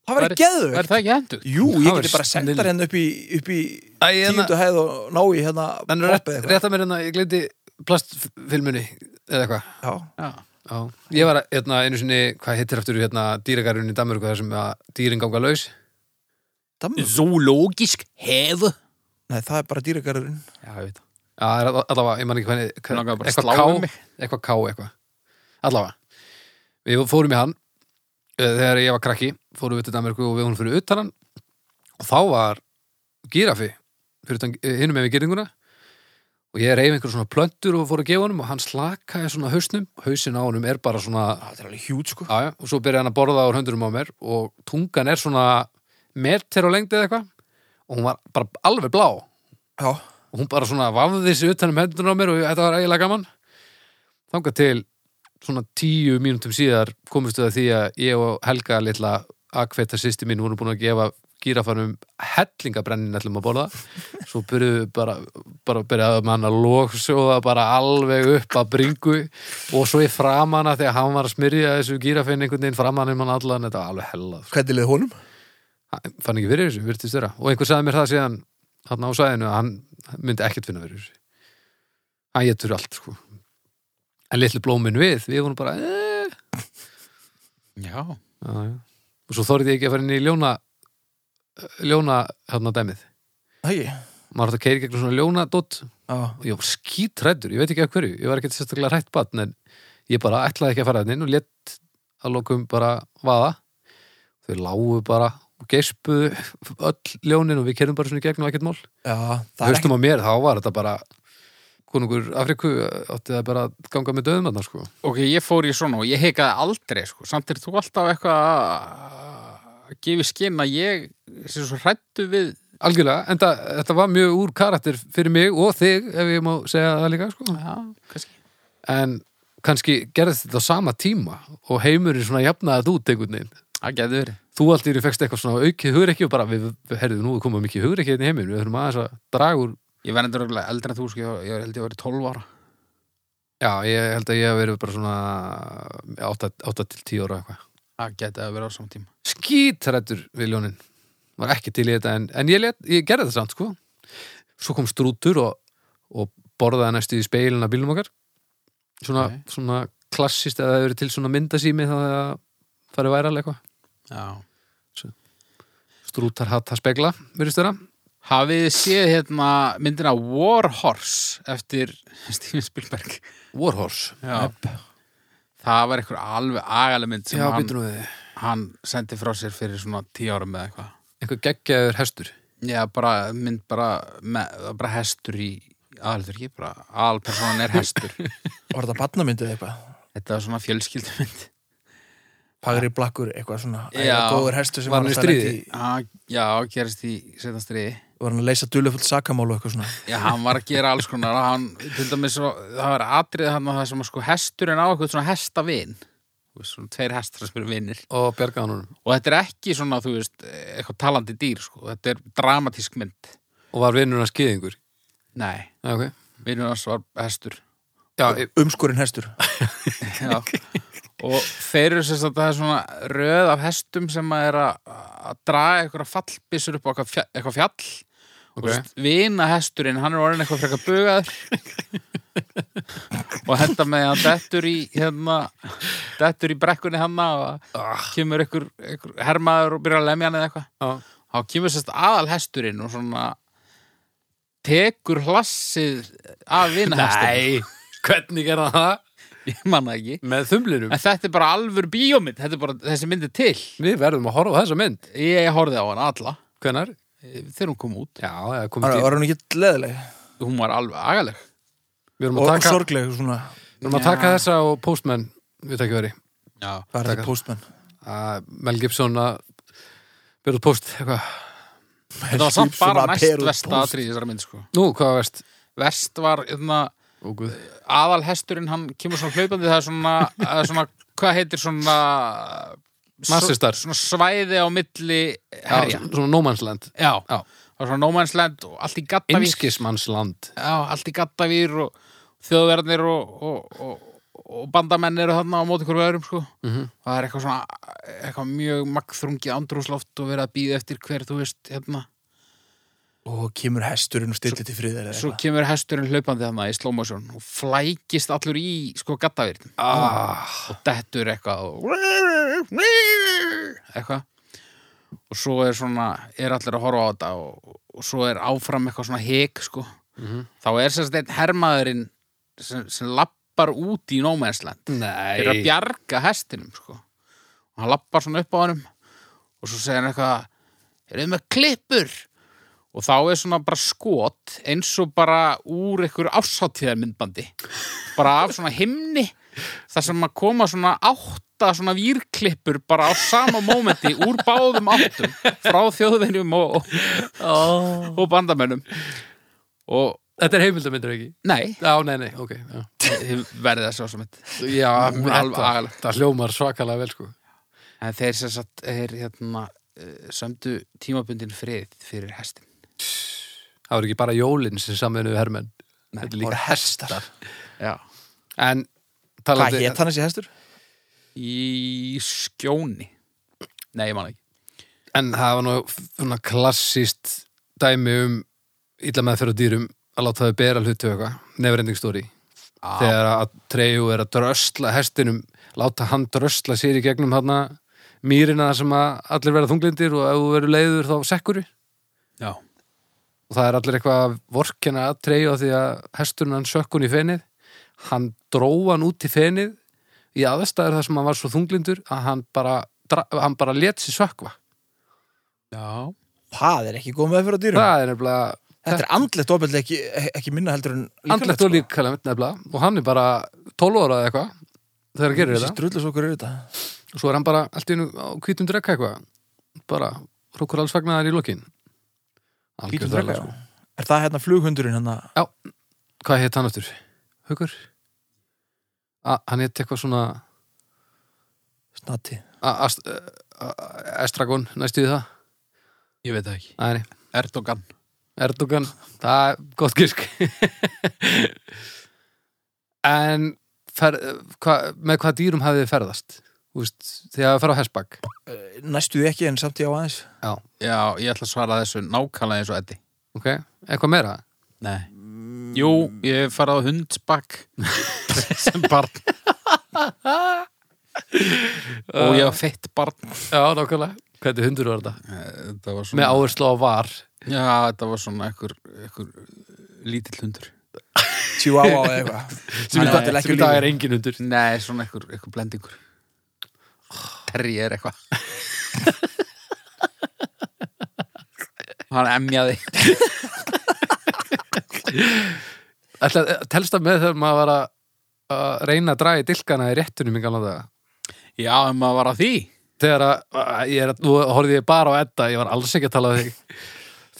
Speaker 1: Það væri
Speaker 3: Væri-
Speaker 1: geðvögt
Speaker 3: Væri það ekki hendur?
Speaker 1: Jú,
Speaker 2: Það
Speaker 1: ég
Speaker 2: væri
Speaker 1: geti bara senda
Speaker 2: snilld.
Speaker 1: þær hérna upp í, upp í
Speaker 2: Æ, ég hérna-
Speaker 1: tíundu hæð og ná í hérna hoppið
Speaker 2: en rétt,
Speaker 1: eitthvað.
Speaker 2: rétt að mér hérna, ég gleymdi plastfilmunni eða eitthvað
Speaker 1: Já,
Speaker 3: Já.
Speaker 2: Já. ég var að, hérna, einu sinni, hvað hittir aftur hérna dýragarinn í Danmörku þar sem að dýrin ganga laus
Speaker 1: dammur
Speaker 3: Zoológisk hef.
Speaker 1: Nei, það er bara dýragarðurinn
Speaker 3: Já, ég veit það.
Speaker 2: já, það er alla- allavega, ég man ekki hvernig
Speaker 3: Mér langaði bara að
Speaker 2: eitthvað
Speaker 3: slá um
Speaker 2: ká,
Speaker 3: mig.
Speaker 2: eitthvað ká eitthvað allavega, við fórum í hann eh, þegar ég var krakki fórum við til Danmarku og við hún fyrir utan hann og þá var gírafi fyrir utan- eh, hinum með gerðinguna og ég reyf einhver svona plöntur og fór að gefa honum og hann slakaði svona hausnum hausin á honum er bara svona
Speaker 1: Það er alveg hjút, sko.
Speaker 2: Já, já, og svo byrjaði hann að borða úr höndurum á mér og tungan er svona meter á lengdi eða eitthvað og hún var bara alveg blá og
Speaker 1: Já.
Speaker 2: hún bara svona vafði sig utan um höndurum á mér og þetta var eiginlega gaman þangað til svona tíu mínútum síðar komustu það því að ég og Helga litla akveita sýsti mín voru búin að gefa gírafanum hellingabrennin ætlum að borða svo byrjuðu bara, bara byrjaðu með hann að loksjóða bara alveg upp að bringu og svo í framana þegar hann var að smyrja þessu gírafinn einhvern veginn framan um hann allan þetta var alveg hellað
Speaker 1: Hvernig liði honum?
Speaker 2: Hann fann ekki fyrir þessu, virtist vera og einhver sagði mér það síðan hann á sæðinu að hann myndi ekkert finna fyrir þessu hann getur allt sko en litlu blómin við, við vorum bara eh.
Speaker 3: Já.
Speaker 2: já, já. og svo þorði ég ekki að fara inn í ljóna ljóna hérna dæmið
Speaker 1: Ægi.
Speaker 2: maður átt að keiri gegnum svona ljóna dot
Speaker 1: Já.
Speaker 2: og ég var skítrættur, ég veit ekki af hverju ég var ekki sérstaklega hrætt batn en ég bara ætlaði ekki að fara þarna inn og létt að lokum bara vaða þau lágu bara og geispuðu öll ljónin og við kerum bara svona í gegn og ekkert mál
Speaker 1: Já. Það er
Speaker 2: höstum á mér þá var þetta bara konungur Afriku átti það bara að ganga með döðum þarna sko
Speaker 3: Ok, ég fór í svona og ég heikaði aldrei, sko. Samt er þú alltaf eitthvað að- að gefi skinn að ég sem svo hrættu við
Speaker 2: algjörlega, en það, þetta var mjög úr karakter fyrir mig og þig ef ég má segja það líka sko
Speaker 3: Já, kannski.
Speaker 2: en kannski gerðist þetta á sama tíma og heimurinn svona jafnaði þetta út einhvern veginn
Speaker 3: Það getur verið.
Speaker 2: þú allt yfir fegst eitthvað svona aukið hugreikki og bara við, við herðu nú komum mikið hugreikki hérna í heiminn, við höfum aðeins að draga úr
Speaker 3: Ég verði endur örugglega eldri en þú, sko. Ég, ég held ég að vera 12 ára.
Speaker 2: já, ég held að ég hef verið bara svona 8, 8 til 10 ára eitthvað
Speaker 3: Það getur að vera á saman tíma.
Speaker 2: skítrættur við ljónin var ekki til í þetta en, en ég, let, ég gerði þetta samt sko svo kom strútur og, og borðaði næstu í speilin af bílum okkar svona,
Speaker 3: Nei.
Speaker 2: svona klassist eða það hefur verið til svona myndasými þá að það farið væral eitthvað
Speaker 3: Já.
Speaker 2: strútar hatt að spegla, virðist þeirra
Speaker 3: Hafið þið séð hérna myndina War Horse eftir Steven Spielberg?
Speaker 2: Warhorse
Speaker 3: Já. Það var einhver alveg agaleg mynd sem
Speaker 2: Já,
Speaker 3: hann,
Speaker 2: býtum við
Speaker 3: hann sendi frá sér fyrir svona tíu árum eða eitthvað.
Speaker 2: einhver geggjaður hestur
Speaker 3: Já, bara mynd bara, með, það er bara hestur í aðalður ekki, bara aðalpersonan er hestur.
Speaker 1: Var þetta barnamyndið eitthvað?
Speaker 3: Þetta var svona fjölskyldumynd.
Speaker 1: Pagri blakkur, eitthvað svona.
Speaker 3: Já.
Speaker 1: Já. Góður hestu sem
Speaker 2: Var hann í
Speaker 1: alltaf lent
Speaker 2: stríði?
Speaker 3: Ah, Já, gerist í setna stríði.
Speaker 1: Var hann að leysa dulefull sakamál og eitthvað svona.
Speaker 3: Já, hann var að gera alls konar og hann, til dæmis, svo- það var atrið hann að það sem að sko hesturinn á eitthvað svona hestavin. Þú veist, Svona tveir hestar sem eru vinir.
Speaker 2: og bjargaðan honum
Speaker 3: og þetta er ekki svona, þú veist, eitthvað talandi dýr, sko, þetta er dramatísk mynd.
Speaker 2: og var vinnur að skýðingur
Speaker 3: Nei,
Speaker 2: Já, okay.
Speaker 3: vinnur hans var hestur.
Speaker 2: Já, ég-
Speaker 1: Umskorinn hestur.
Speaker 3: Já. og þeir eru sem sagt það er svona röð af hestum sem að er að að draga eitthvað fallbissur upp á eitthvað fjall, eitthvað fjall. og þú
Speaker 2: Ok.
Speaker 3: veist, vina hesturinn, hann er orðin eitthvað frekar bugaður og þetta með að hann dettur í hérna, dettur í brekkunni hann og
Speaker 2: Ah.
Speaker 3: kemur einhver, einhver hermaður og byrjar að lemja hann eða eitthvað
Speaker 2: já,
Speaker 3: þá kemur sérst aðal hesturinn og svona tekur hlassið af vinahesturinn
Speaker 2: Nei, hvernig gerða það?
Speaker 3: ég manna ekki
Speaker 2: Með þumlinum
Speaker 3: en þetta er bara alvör bíómynd þetta er bara þessi myndi til
Speaker 2: Við verðum að horfa á þessa mynd
Speaker 3: ég horfði á hann alla
Speaker 2: Hvenær?
Speaker 3: eh, þegar hún kom út
Speaker 2: Já, það komið
Speaker 1: Var
Speaker 2: tíma
Speaker 1: var hann ekki leðileg?
Speaker 3: hún var alveg agaleg
Speaker 2: Við erum
Speaker 1: Og
Speaker 2: að
Speaker 1: taka...
Speaker 2: taka,
Speaker 1: sorgleg svona.
Speaker 2: við erum að taka þessa og postmenn við tekjum veri
Speaker 3: já.
Speaker 1: Hvað er
Speaker 2: Taka.
Speaker 1: þetta postmenn?
Speaker 2: Mel Gibson að byrja út post eitthvað
Speaker 3: þetta var samt
Speaker 1: Svona
Speaker 3: bara
Speaker 1: per
Speaker 3: næst
Speaker 1: og
Speaker 3: vest
Speaker 1: post.
Speaker 3: aðrið þessari mynd sko.
Speaker 2: Nú, hvað var veist?
Speaker 3: vest var yfna,
Speaker 2: Ó, guð
Speaker 3: aðal hesturinn hann kemur svona hlaupandi það er svona, það er svona hvað heitir svona
Speaker 2: Nasistar.
Speaker 3: svona svæði á milli
Speaker 2: Já,
Speaker 3: herja
Speaker 2: svona nómannsland
Speaker 3: Já,
Speaker 2: Já.
Speaker 3: það var svona nómannsland og allt í gattavír
Speaker 2: Einskismannsland
Speaker 3: Já, allt í gattavír og þjóðverðnir og, og, og, og bandamenn eru þarna á móti hverju öðrum sko.
Speaker 2: Mhm.
Speaker 3: það er eitthvað svona eitthvað mjög magnþrungið andrúsloft og verið að býða eftir hver, þú veist, hérna
Speaker 1: Og kemur hesturinn og stillir til friðar eða
Speaker 3: svo
Speaker 1: eitthvað.
Speaker 3: kemur hesturinn hlaupandi þarna í slow motion og flækist allur í sko gattavírin
Speaker 2: ah,
Speaker 3: og dettur eitthvað og eitthvað og svo er svona, er allir að horfa á þetta og, og svo er áfram eitthvað svona hik sko þá er sérst einn hermaðurinn sem, sem lappar út í nómensland
Speaker 2: Nei
Speaker 3: fyrir að bjarga hestinum sko. og hann lappar svona upp á honum og svo segir hann eitthvað eruðu með klippur og þá er svona bara skot eins og bara úr einhverju ársáttíðarmyndbandi bara af svona himni þar sem að koma svona átta svona výrklippur bara á sama mómenti úr báðum áttum frá þjóðverjum og, og,
Speaker 2: oh.
Speaker 3: og bandamönnum og
Speaker 2: Þetta er heimildamindur ekki?
Speaker 3: nei,
Speaker 2: Já, nei, nei, ok Já,
Speaker 3: þið verðið að sjá svo mynd
Speaker 2: já
Speaker 3: Hún er alveg agaleg.
Speaker 2: það hljómar svakalega vel sko
Speaker 3: en þeir sem sagt er hérna eh, sömdu tímabundin frið fyrir hestin
Speaker 2: Það voru ekki bara jólinn sem samveinu hermenn
Speaker 3: Nei,
Speaker 2: Þetta er líka hestar
Speaker 3: já.
Speaker 2: En
Speaker 1: Hvað
Speaker 2: talandi
Speaker 1: hétt hann þessi hestur?
Speaker 3: í skjóni nei, ég man það ekki
Speaker 2: En það var nú svona klassist dæmi um illa með fyrir dýrum að láta þau bera hlutu eitthvað nefrending stóri þegar að treyju er að drösla hestinum láta hann drösla sér í gegnum þarna mýrina þar sem að allir verða þunglindir og ef þú verður leiður þá sekkuri
Speaker 3: já,
Speaker 2: og það er allir eitthvað að vorkina að treyja því að hesturinn hann sökkun í fenið hann dró hann út í fenið í aðstæður þar sem hann var svo þunglindur að hann bara, dra- hann bara let sér sökkva
Speaker 3: já.
Speaker 1: Það er ekki góð með fyrir á dýrum.
Speaker 2: það er nefnilega
Speaker 1: Þetta er andlegt ofbeldi ekki, ekki minna heldur en
Speaker 2: andlegt
Speaker 1: sko.
Speaker 2: og líkalegt nefnilega og hann er bara 12 ára eða eitthvað þegar hann gerir
Speaker 1: Þessi
Speaker 2: þetta
Speaker 1: strullu okkur er þetta.
Speaker 2: og svo er hann bara allt í einu á hvítum drekka eitthvað bara hrókur alls fagnaðar í lokin
Speaker 1: Hvítum
Speaker 2: Algjör
Speaker 1: drekka,
Speaker 2: þvæla,
Speaker 1: já. Er það hérna flughundurinn hérna?
Speaker 2: sko. hvað hétt hann aftur? Haukur? A, hann hétt eitthvað svona
Speaker 1: Snati.
Speaker 2: A- Ast- eh, A- Estragon næstu í það
Speaker 3: ég veit það ekki
Speaker 2: Æ, nei,
Speaker 3: Erdogan
Speaker 2: Erdogan, það er gott gísk en fer, eh, hva, með hvað dýrum hafið þið ferðast? Þú veist, þegar að ferða á hessbakk
Speaker 1: Eh, Næstu því ekki en samt ég á aðeins.
Speaker 3: Já, ég ætla að svara þessu nákvæmlega eins og Eddi
Speaker 2: Ok, eitthvað meira?
Speaker 3: Nei Jú, ég hef farið á hundsbakk sem barn og ég var feitt barn
Speaker 2: Já, nákvæmlega. Hvernig hundur var þetta?
Speaker 3: Eh, Þetta var
Speaker 2: Með áherslu á var.
Speaker 3: Já, þetta var svona einhver, einhver lítill hundur
Speaker 1: Tjú á á eitthvað.
Speaker 2: Sem í
Speaker 1: Hann er
Speaker 2: dag, sem í
Speaker 1: ekki
Speaker 2: dag
Speaker 1: lífið.
Speaker 2: er engin hundur.
Speaker 3: Nei, svona einhver, einhver blendingur Terri er eitthvað Hann emjaði
Speaker 2: Ætla, telst það með þegar maður var að, að reyna að draga í dilkana í réttunum í galna daga.
Speaker 3: Já, en maður var að því
Speaker 2: Þegar að, að ég er, nú horfði ég bara á Edda, ég var alls ekki að tala um þig.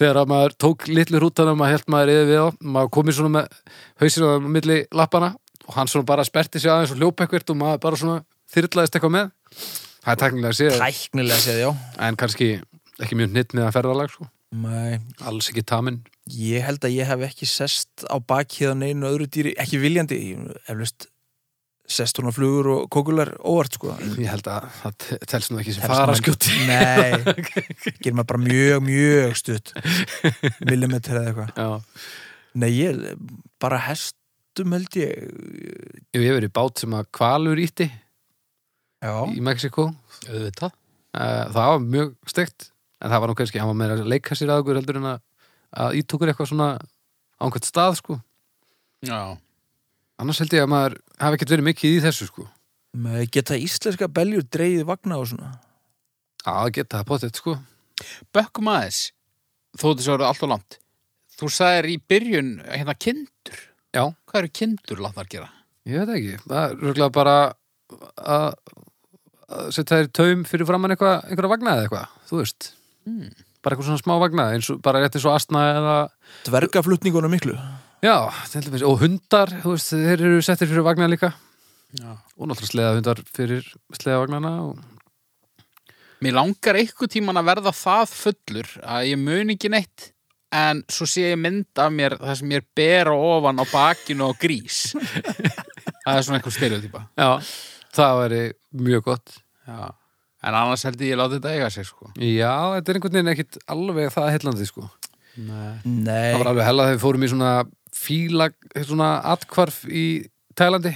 Speaker 2: Þegar að maður tók litlu rútana, maður held maður yfir við á, maður komið svona með hausinu á milli lappana og hann svona bara sperti sig aðeins og hljópa eitthvað og maður bara svona þyrlaðist eitthvað með. Það er teknilega séð,
Speaker 1: Tæknilega séð, já.
Speaker 2: en kannski ekki mjög nýtt með að ferðalag, sko.
Speaker 1: Nei.
Speaker 2: Alls ekki taminn.
Speaker 1: Ég held að ég hef ekki sest á bakið á neinu öðru dýri, ekki viljandi, eflust sest hún á flugur og kókular óvart, sko.
Speaker 2: Ég held að það te- telst nú ekki sem
Speaker 1: Telst nú
Speaker 2: faraskjóti
Speaker 1: Nei, gerir maður bara mjög, mjög stutt. Millimetri eða eitthvað.
Speaker 2: Já,
Speaker 1: Nei, ég, bara hestum held ég.
Speaker 2: Jú, ég hef verið í bát sem að kvalur ítti
Speaker 1: Já.
Speaker 2: í Mexiko
Speaker 3: Auðvitað
Speaker 2: Eh, Það var mjög steikt en það var nú kannski, hann var meira að leika sér að okkur heldur en að, að ítokur eitthvað svona á einhvern stað sko
Speaker 3: Já
Speaker 2: annars held ég að maður hafi ekkert verið mikið í þessu sko
Speaker 1: Með geta íslenska beljur dreigið vagna og svona
Speaker 2: Já, það geta það potið sko
Speaker 3: Bökkum aðeins Þó þessu eru allt og langt Þú sagðir í byrjun hérna kindur
Speaker 2: Já.
Speaker 3: Hvað eru kindur látnar gera?
Speaker 2: Ég veit ekki, það er röglega bara að að setja þær í taum fyrir framann eitthvað, einhverja vagna eða eitthvað, þú veist
Speaker 3: Hmm.
Speaker 2: bara eitthvað svona smá vagna, eins og bara rétt eins og astna eða
Speaker 1: Dvergaflutningunum miklu
Speaker 2: Já, til dæmis, og hundar, þú veist, þeir eru settir fyrir vagnar líka
Speaker 3: Já.
Speaker 2: og náttúrulega sleða hundar fyrir sleða vagnarna og...
Speaker 3: Mér langar einhver tíman að verða það fullur að ég mun ekki neitt en svo sé ég mynd af mér það sem ég er bera ofan á bakinu á grís Það er svona einhver stereotypa
Speaker 2: Já, það væri mjög gott
Speaker 3: Já. En annars held ég að láta þetta eiga sig sko
Speaker 2: Já, þetta er einhvern veginn ekkit alveg það heillandi, sko
Speaker 3: Nei.
Speaker 1: Nei,
Speaker 2: Það var alveg hella þegar við fórum í svona fíla, svona atkvarf í Tælandi,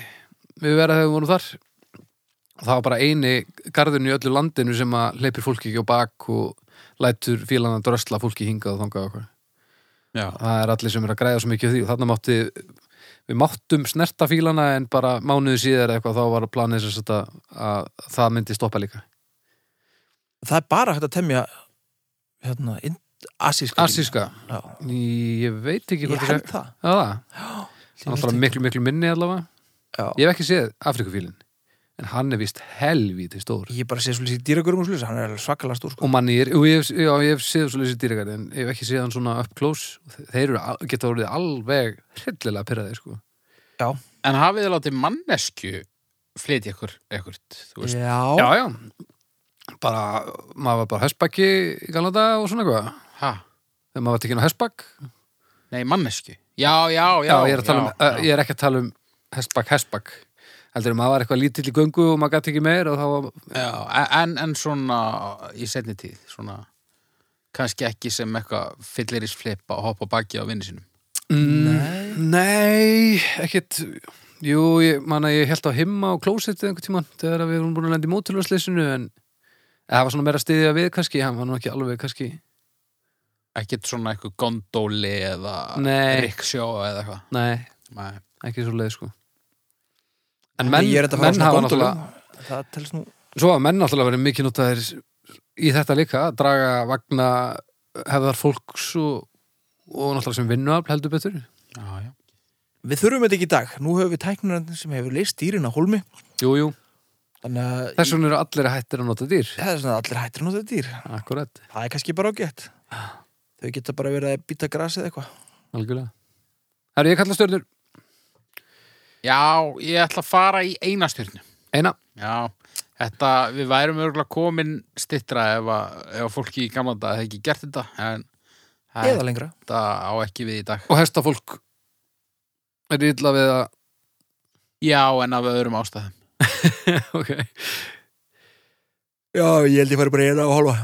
Speaker 2: við verða þegar við vorum þar og það var bara eini garðurinn í öllu landinu sem að hleypir fólki ekki á bak og lætur fílana drösla fólki hingað og þangað og okkur
Speaker 3: Já.
Speaker 2: það er allir sem er að græða svo mikið á því og þarna mátti við máttum snerta fílana en bara mánuðu síðar eitthvað þá var planið sem sagt að, að það myndi stoppa líka
Speaker 1: það er bara hægt að temja hérna, inn- Assíska
Speaker 2: Assíska,
Speaker 1: Já,
Speaker 2: ég veit ekki
Speaker 1: ég
Speaker 2: hvort
Speaker 1: held það
Speaker 2: Já, það.
Speaker 1: Ég
Speaker 2: Hann er
Speaker 1: veit
Speaker 2: alltaf
Speaker 1: ekki.
Speaker 2: miklu, miklu minni allavega.
Speaker 1: Já.
Speaker 2: Ég hef ekki séð Afrikufílinn, en hann er vist helvítið stór.
Speaker 1: Ég bara sé svolítið í dýragurum og slúðis, hann er alveg svakalega stór sko.
Speaker 2: Og manni, er, jú, ég, hef, já, ég hef séð svolítið dýragarði, en ég hef ekki séð hann svona up close. Þe- Þeir eru, al- geta orðið alveg hryllilega pyrraðir, sko.
Speaker 3: En hafið þið látið mannesku flytja ykkur, ekkert, þú veist.
Speaker 1: Já,
Speaker 2: já. Bara, maður var bara hestbakki í Galanda og svona eitthvað.
Speaker 3: Ha?
Speaker 2: Þegar maður var tekinn á hestbakk.
Speaker 3: Nei, mannesku. Já, já, já.
Speaker 2: Já, ég, er að tala um,
Speaker 3: já,
Speaker 2: uh, ég er ekki að tala um hestbakk, hestbakk. Heldur, maður var eitthvað lítill í göngu og maður gæti ekki meir og þá var,
Speaker 3: Já, en, en svona í setni tíð, svona kannski ekki sem eitthvað fylliris flipa og hoppa á baki á vinnu sínum.
Speaker 2: Nei, Mm, nei ekkit Jú, ég, man að ég held á himma og klósettið einhvern tímann þegar að við vorum búin að lenda í mótilvæsleysinu en eða það var svona meira að styðja við kannski hann var nú ekki alveg kannski
Speaker 3: Ekkert svona eitthvað gondóli eða
Speaker 2: Nei,
Speaker 3: rikksjó eða eitthvað.
Speaker 2: nei,
Speaker 3: Nei.
Speaker 2: ekki svo leið sko En
Speaker 1: menn,
Speaker 2: menn,
Speaker 1: ég er þetta að fara
Speaker 2: menn
Speaker 1: svona
Speaker 2: hafa
Speaker 1: góndula
Speaker 2: náttúrulega
Speaker 1: Það telst nú
Speaker 2: Svo hafa menn náttúrulega verið mikið notaðir í þetta líka að draga vagna hefðar fólks og, og náttúrulega sem vinnuafl heldur betur
Speaker 3: Já, já.
Speaker 1: Við þurfum þetta ekki í dag, nú höfum við tæknarinn sem hefur leist dýrin á hólmi
Speaker 2: Jú, jú,
Speaker 1: Þannig að
Speaker 2: þess vegna eru allir að hættir að nota dýr
Speaker 1: það er svona að allir hættir nú þetta dýr
Speaker 2: Akkurat,
Speaker 1: Það er kannski bara ágætt Þau geta bara verið að býta grasið eitthvað
Speaker 2: algjörlega Herru, ég kalla stjörnur
Speaker 3: Já, ég ætla að fara í eina stjörnu.
Speaker 2: Eina,
Speaker 3: Já, þetta, við værum örgulega komin stittra ef að, ef að fólki í gamla dag hefði ekki gert þetta, en
Speaker 1: Eða lengra
Speaker 3: þetta á ekki við í dag.
Speaker 2: og hestafólk er illa við að
Speaker 3: Já, en af öðrum ástæðum.
Speaker 2: okay.
Speaker 1: Já, ég held ég fari bara eina og hálfa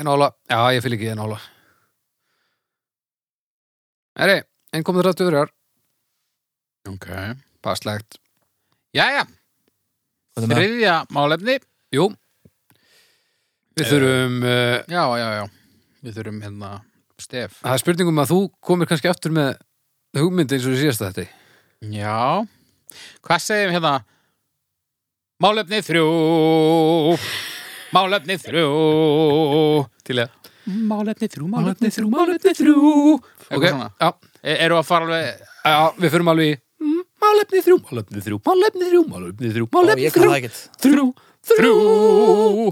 Speaker 2: Einála, já ég fylg ekki einála Eri, einn komið rættu verjar
Speaker 3: Ok.
Speaker 2: Passlegt,
Speaker 3: Jæja, þriðja málefni.
Speaker 2: jú Við þurfum uh,
Speaker 3: Já, já, já, við þurfum hérna stef.
Speaker 2: Það er spurningum að þú komir kannski aftur með hugmynd eins og þú síðast þetta
Speaker 3: Já, hvað segjum hérna? Málefni þrjú, málefni þrjú,
Speaker 2: Til ég
Speaker 3: málefni þrjú,
Speaker 2: Málefni þrjú, málefni þrjú Ok,
Speaker 3: Eitthvað svona.
Speaker 2: já,
Speaker 3: E eru að fara alveg
Speaker 2: já, við förum alveg í mm, Málefni þrjú, málefni þrjú, málefni þrjú, málefni þrjú,
Speaker 1: Já,
Speaker 2: málefni
Speaker 1: ég kann
Speaker 2: þrjú
Speaker 1: það ekkert
Speaker 2: Þrjú, þrjú
Speaker 3: þrjú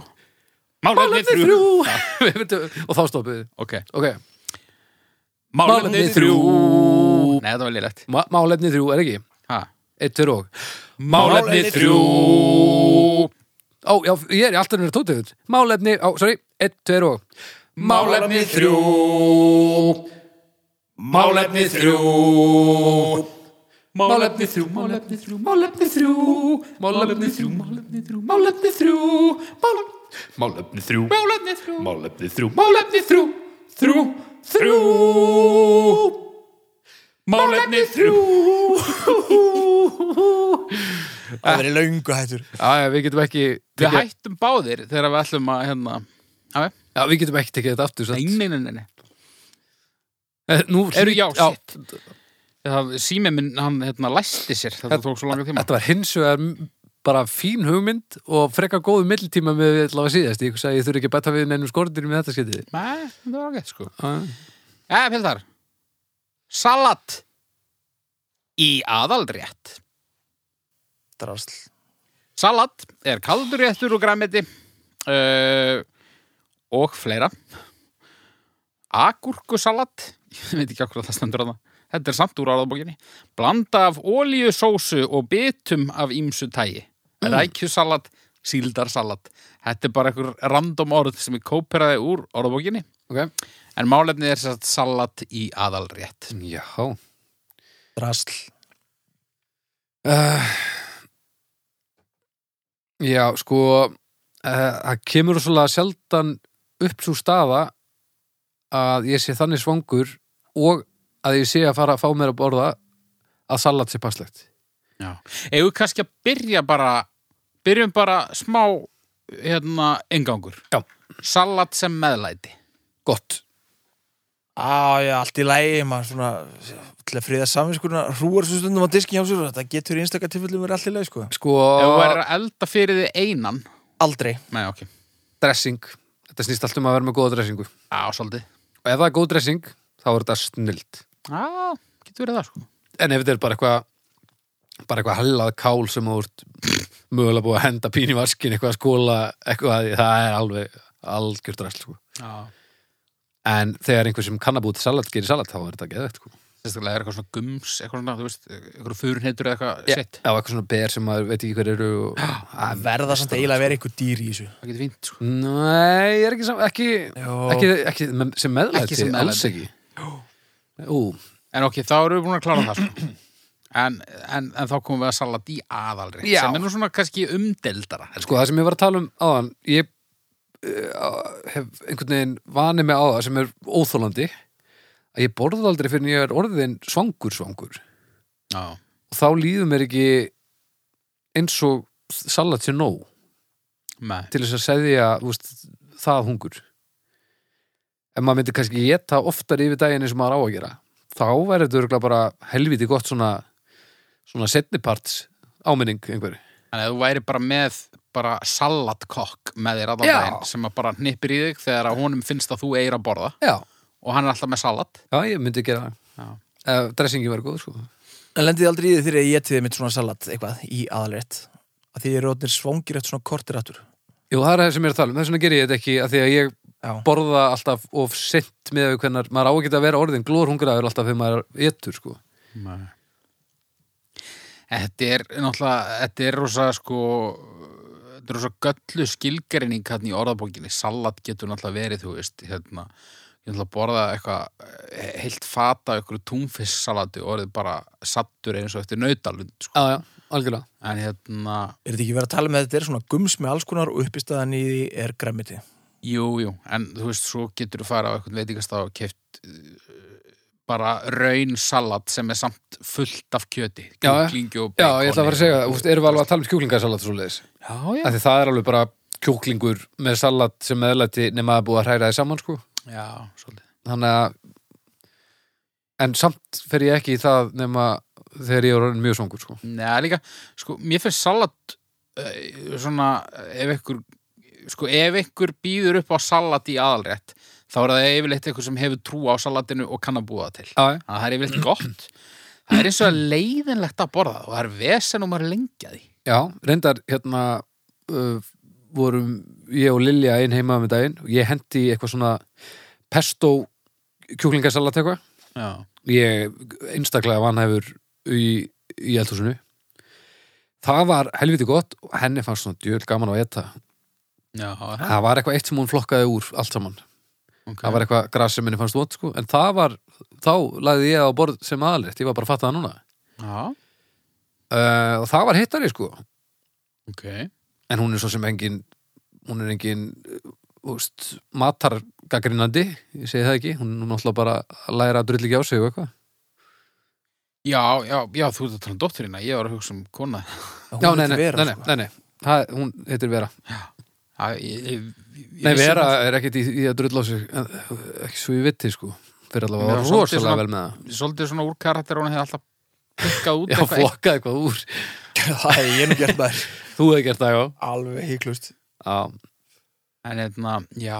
Speaker 3: Málefni
Speaker 2: Málefni
Speaker 3: þrjú
Speaker 2: þrjú Og þá stoppuðu
Speaker 3: Ok
Speaker 2: Ok,
Speaker 3: Málefni
Speaker 2: Málefni
Speaker 3: þrjú
Speaker 2: þrjú.
Speaker 3: Nei, þetta var lélegt
Speaker 2: Ma málefni þrjú er ekki
Speaker 3: Ha.
Speaker 2: Eitt, tveir og
Speaker 1: Málefni þrjú.
Speaker 2: Ó, já, ég er í alltaf nýra tótið Málefni, á, sorry, eitt, tveir og
Speaker 3: Málefni þrjú Málefni þrjú
Speaker 2: Málefni þrjú, málefni þrjú, málefni þrjú Málefni þrjú, málefni þrjú, málefni þrjú Málefni, málefni þrjú
Speaker 3: Málefni þrjú
Speaker 2: Málefni þrjú, málefni þrjú Þrjú, þrjú
Speaker 3: Málefni þrjú
Speaker 1: Það verið löngu hættur
Speaker 2: Já, já, við getum ekki
Speaker 3: Við
Speaker 2: tekið-
Speaker 3: hættum báðir þegar við ætlum að hérna Já,
Speaker 2: Já, við getum ekki tekið þetta aftur
Speaker 3: nei,
Speaker 2: satt.
Speaker 3: nei, nei, nei, nei
Speaker 2: Eh, Nú,
Speaker 3: Eru, já,
Speaker 2: já
Speaker 3: shit Það, sími minn, hann hérna læsti sér Þetta tók svo langa tíma
Speaker 2: Þetta var hins vegar m- bara fín hugmynd og frekar góðu milltíma með við allavega síðast. Ég sagði, ég þurfi ekki að bæta við neinum skorðinu með þetta skiptið.
Speaker 3: Nei, það var ágætt sko
Speaker 2: Ah.
Speaker 3: Jæja, Pildar Salat í aðaldrétt
Speaker 1: Drasl
Speaker 3: Salat er kaldur réttur og græmiti uh, og fleira Agúrkusalat ég veit ekki okkur að það stendur að það þetta er samt úr áraðbókinni blanda af ólíusósu og bitum af ímsu tægi rækjusalat, síldarsalat þetta er bara einhver random orð sem ég kóperaði úr áraðbókinni
Speaker 2: Ok.
Speaker 3: en málefnið er satt salat í aðalrétt
Speaker 2: Já.
Speaker 1: Drasl
Speaker 2: Uh, já, sko, eh, það kemur svolítið sjaldan upp svo staða að ég sé þannig svangur og að ég sé að fara að fá mér að borða að salat sé passlegt.
Speaker 3: Ef við kannski að byrja bara byrjum bara smá hérna, engangur
Speaker 2: Já.
Speaker 3: Salat sem meðlæti
Speaker 2: Gott.
Speaker 1: Á, já, allt í lægi, maður svona til að friða saminskurna, hrúar svo stundum á diskin hjá sér, þetta getur í einstaka tilfellum verið allt í lægi, sko.
Speaker 2: Sko,
Speaker 3: Ef þú er að elda fyrir þig einan
Speaker 1: Aldrei.
Speaker 3: Nei, ok
Speaker 2: dressing. Þetta Þetta snýst allt um að vera með góða dressingu.
Speaker 3: Já, svolítið.
Speaker 2: Og ef það er góð dressing, þá er þetta snild.
Speaker 3: Já, getur verið það, sko.
Speaker 2: En ef þetta er bara eitthvað bara eitthvað hallað kál sem þú ert mögulega búið að henda pín í vaskin eitthvað að skóla, eitthvað, það er alveg algjör dressl, sko.
Speaker 3: Já.
Speaker 2: En þegar einhver sem kann að búið til salat gerir salat, þá er þetta geðvegt, sko.
Speaker 3: Sérstaklega er eitthvað svona gums, eitthvað svona, þú veist, eitthvað furunheitur eða eitthvað
Speaker 2: Já,
Speaker 3: sitt.
Speaker 2: Já, eitthvað svona ber sem maður veit ekki hver eru og... Ah,
Speaker 1: Það verða samt eiginlega að vera
Speaker 2: sko.
Speaker 1: eitthvað dýr í þessu.
Speaker 3: Það getur fínt, sko.
Speaker 2: Nei, ég er ekki saman, ekki,
Speaker 1: Jó.
Speaker 2: ekki, ekki með- sem meðlæti,
Speaker 3: Ekki sem
Speaker 2: alls
Speaker 3: meðlæti.
Speaker 2: ekki. Ú,
Speaker 3: En ok, þá erum við búin að klára það, sko. En, en, en þá komum við að salat í aðalri.
Speaker 2: Já.
Speaker 3: Sem er nú svona kannski umdeldara.
Speaker 2: sko það sem ég var að tala um áðan, ég uh, hef einhvern veginn vanið mig á það sem er óþólandi, að ég borða aldrei fyrir en ég er orðin svangur svangur.
Speaker 3: Já.
Speaker 2: Og þá líður mér ekki eins og salat sé nóg
Speaker 3: Nei.
Speaker 2: til þess að segja veist, það hungur. En maður myndi kannski geta oftar yfir daginn eins og maður á að gera. Þá væri þetta örgulega bara helviti gott svona, svona setniparts áminning einhverju.
Speaker 3: En ef þú væri bara með bara salatkokk með þér allan
Speaker 2: Já.
Speaker 3: daginn sem að bara hnippir í þig þegar að honum finnst að þú eigir að borða
Speaker 2: Já,
Speaker 3: og hann er alltaf með salat
Speaker 2: já, ég myndi gera það.
Speaker 3: Já.
Speaker 2: Ef dressingi var góð, sko.
Speaker 1: En lendið aldrei í því þegar ég getið mitt svona salat eitthvað í aðalrétt að því ég er rótnir svangir eftir svona kortir aftur
Speaker 2: Jú, það er það sem ég er að tala um. Þess vegna ger ég þetta ekki að því að ég
Speaker 1: Já.
Speaker 2: borða alltaf of sent með hvernar maður á að geta að vera orðin glórhungraður alltaf þegar maður getur, sko.
Speaker 3: Nei. Þetta er náttúrulega, þetta er rosa sko, þetta er rosa göllu skilgreining hérna í orðabókinni, salat getur náttúrulega verið, þú veist, hérna, ég ætla að borða eitthvað, eh, heilt fata af einhverju túnfissalati og orðið bara sattur eins og eftir nautalund, sko.
Speaker 2: Já, já, algjörlega.
Speaker 3: En hérna,
Speaker 1: Er þetta ekki verið að tala með að þetta er svona gums með alls konar og uppistæðan í því er græmiti
Speaker 3: jú, jú, en þú veist, svo getur þú fara á eitthvað veitingast á og keft bara raun salat sem er samt fullt af kjöti,
Speaker 2: Já, já.
Speaker 3: kjúklingi og
Speaker 2: Já, ég ætla að fara að segja,
Speaker 3: og-
Speaker 2: þú veist, erum við alveg að tala um kjúklingasalat svo leiðis?
Speaker 3: Já, já.
Speaker 2: Af því það er alveg bara kjúklingur með salat sem meðlæti nema að búa að hræra þið saman sko.
Speaker 3: Já, svolítið.
Speaker 2: þannig að en samt fer ég ekki í það nema þegar ég er orðin mjög svangur sko.
Speaker 3: Nei, líka, sko, mér finnst salat uh, svona, eh, ef ykkur sko, ef ykkur býður upp á salat í aðalrétt, þá er það yfirleitt ykkur sem hefur trú á salatinu og kann að búa það til.
Speaker 2: Já, já.
Speaker 3: Þannig að það er yfirleitt gott. Það er eins og leiðinlegt að borða það og það er vesen og maður er lengi að því.
Speaker 2: Já, reyndar hérna uh, vorum ég og Lilja einn heima með daginn og ég hendi í eitthvað svona pesto kjúklingasalat eitthvað
Speaker 3: Já.
Speaker 2: ég einstaklega vanhæfur í, í eldhúsinu það var helviti gott og henni fannst svona djöl gaman að eta
Speaker 3: Já,
Speaker 2: það var eitthvað eitt sem hún flokkaði úr allt saman
Speaker 3: ok.
Speaker 2: það var eitthvað gras sem henni fannst vond sko. en það var, þá lagði ég á borð sem aðalrétt, ég var bara að fatta það núna
Speaker 3: Já,
Speaker 2: uh, og það var hittari sko
Speaker 3: ok.
Speaker 2: en hún er svo sem engin hún er engin uh, úst, matargagrinandi, ég segi það ekki hún er náttúrulega bara að læra að drull ekki á sig og eitthvað
Speaker 3: Já, já, já, þú ert að tala um dótturina, ég var að hugsa um kona.
Speaker 1: Hún
Speaker 2: Já,
Speaker 1: vill
Speaker 2: nei, nei,
Speaker 1: vera,
Speaker 2: nei,
Speaker 1: sko.
Speaker 2: nei, nei, nei. Hún heitir Vera
Speaker 3: Já, ég, ég, ég,
Speaker 2: Nei, Vera er ekkit í, í að drulla á sig en, ekki svo ég viti, sko fyrir allavega
Speaker 3: Já, svolítið
Speaker 2: rosalega
Speaker 3: svona-
Speaker 2: vel með það
Speaker 3: Svolítið svona úr karakter, hún hefði alltaf pikkað út
Speaker 2: Já, flokkaði eitthvað úr
Speaker 1: Það hef ég nú gert maður
Speaker 2: Þú hefði gert það, já,
Speaker 1: Alveg híklust
Speaker 2: já.
Speaker 3: En hérna, já,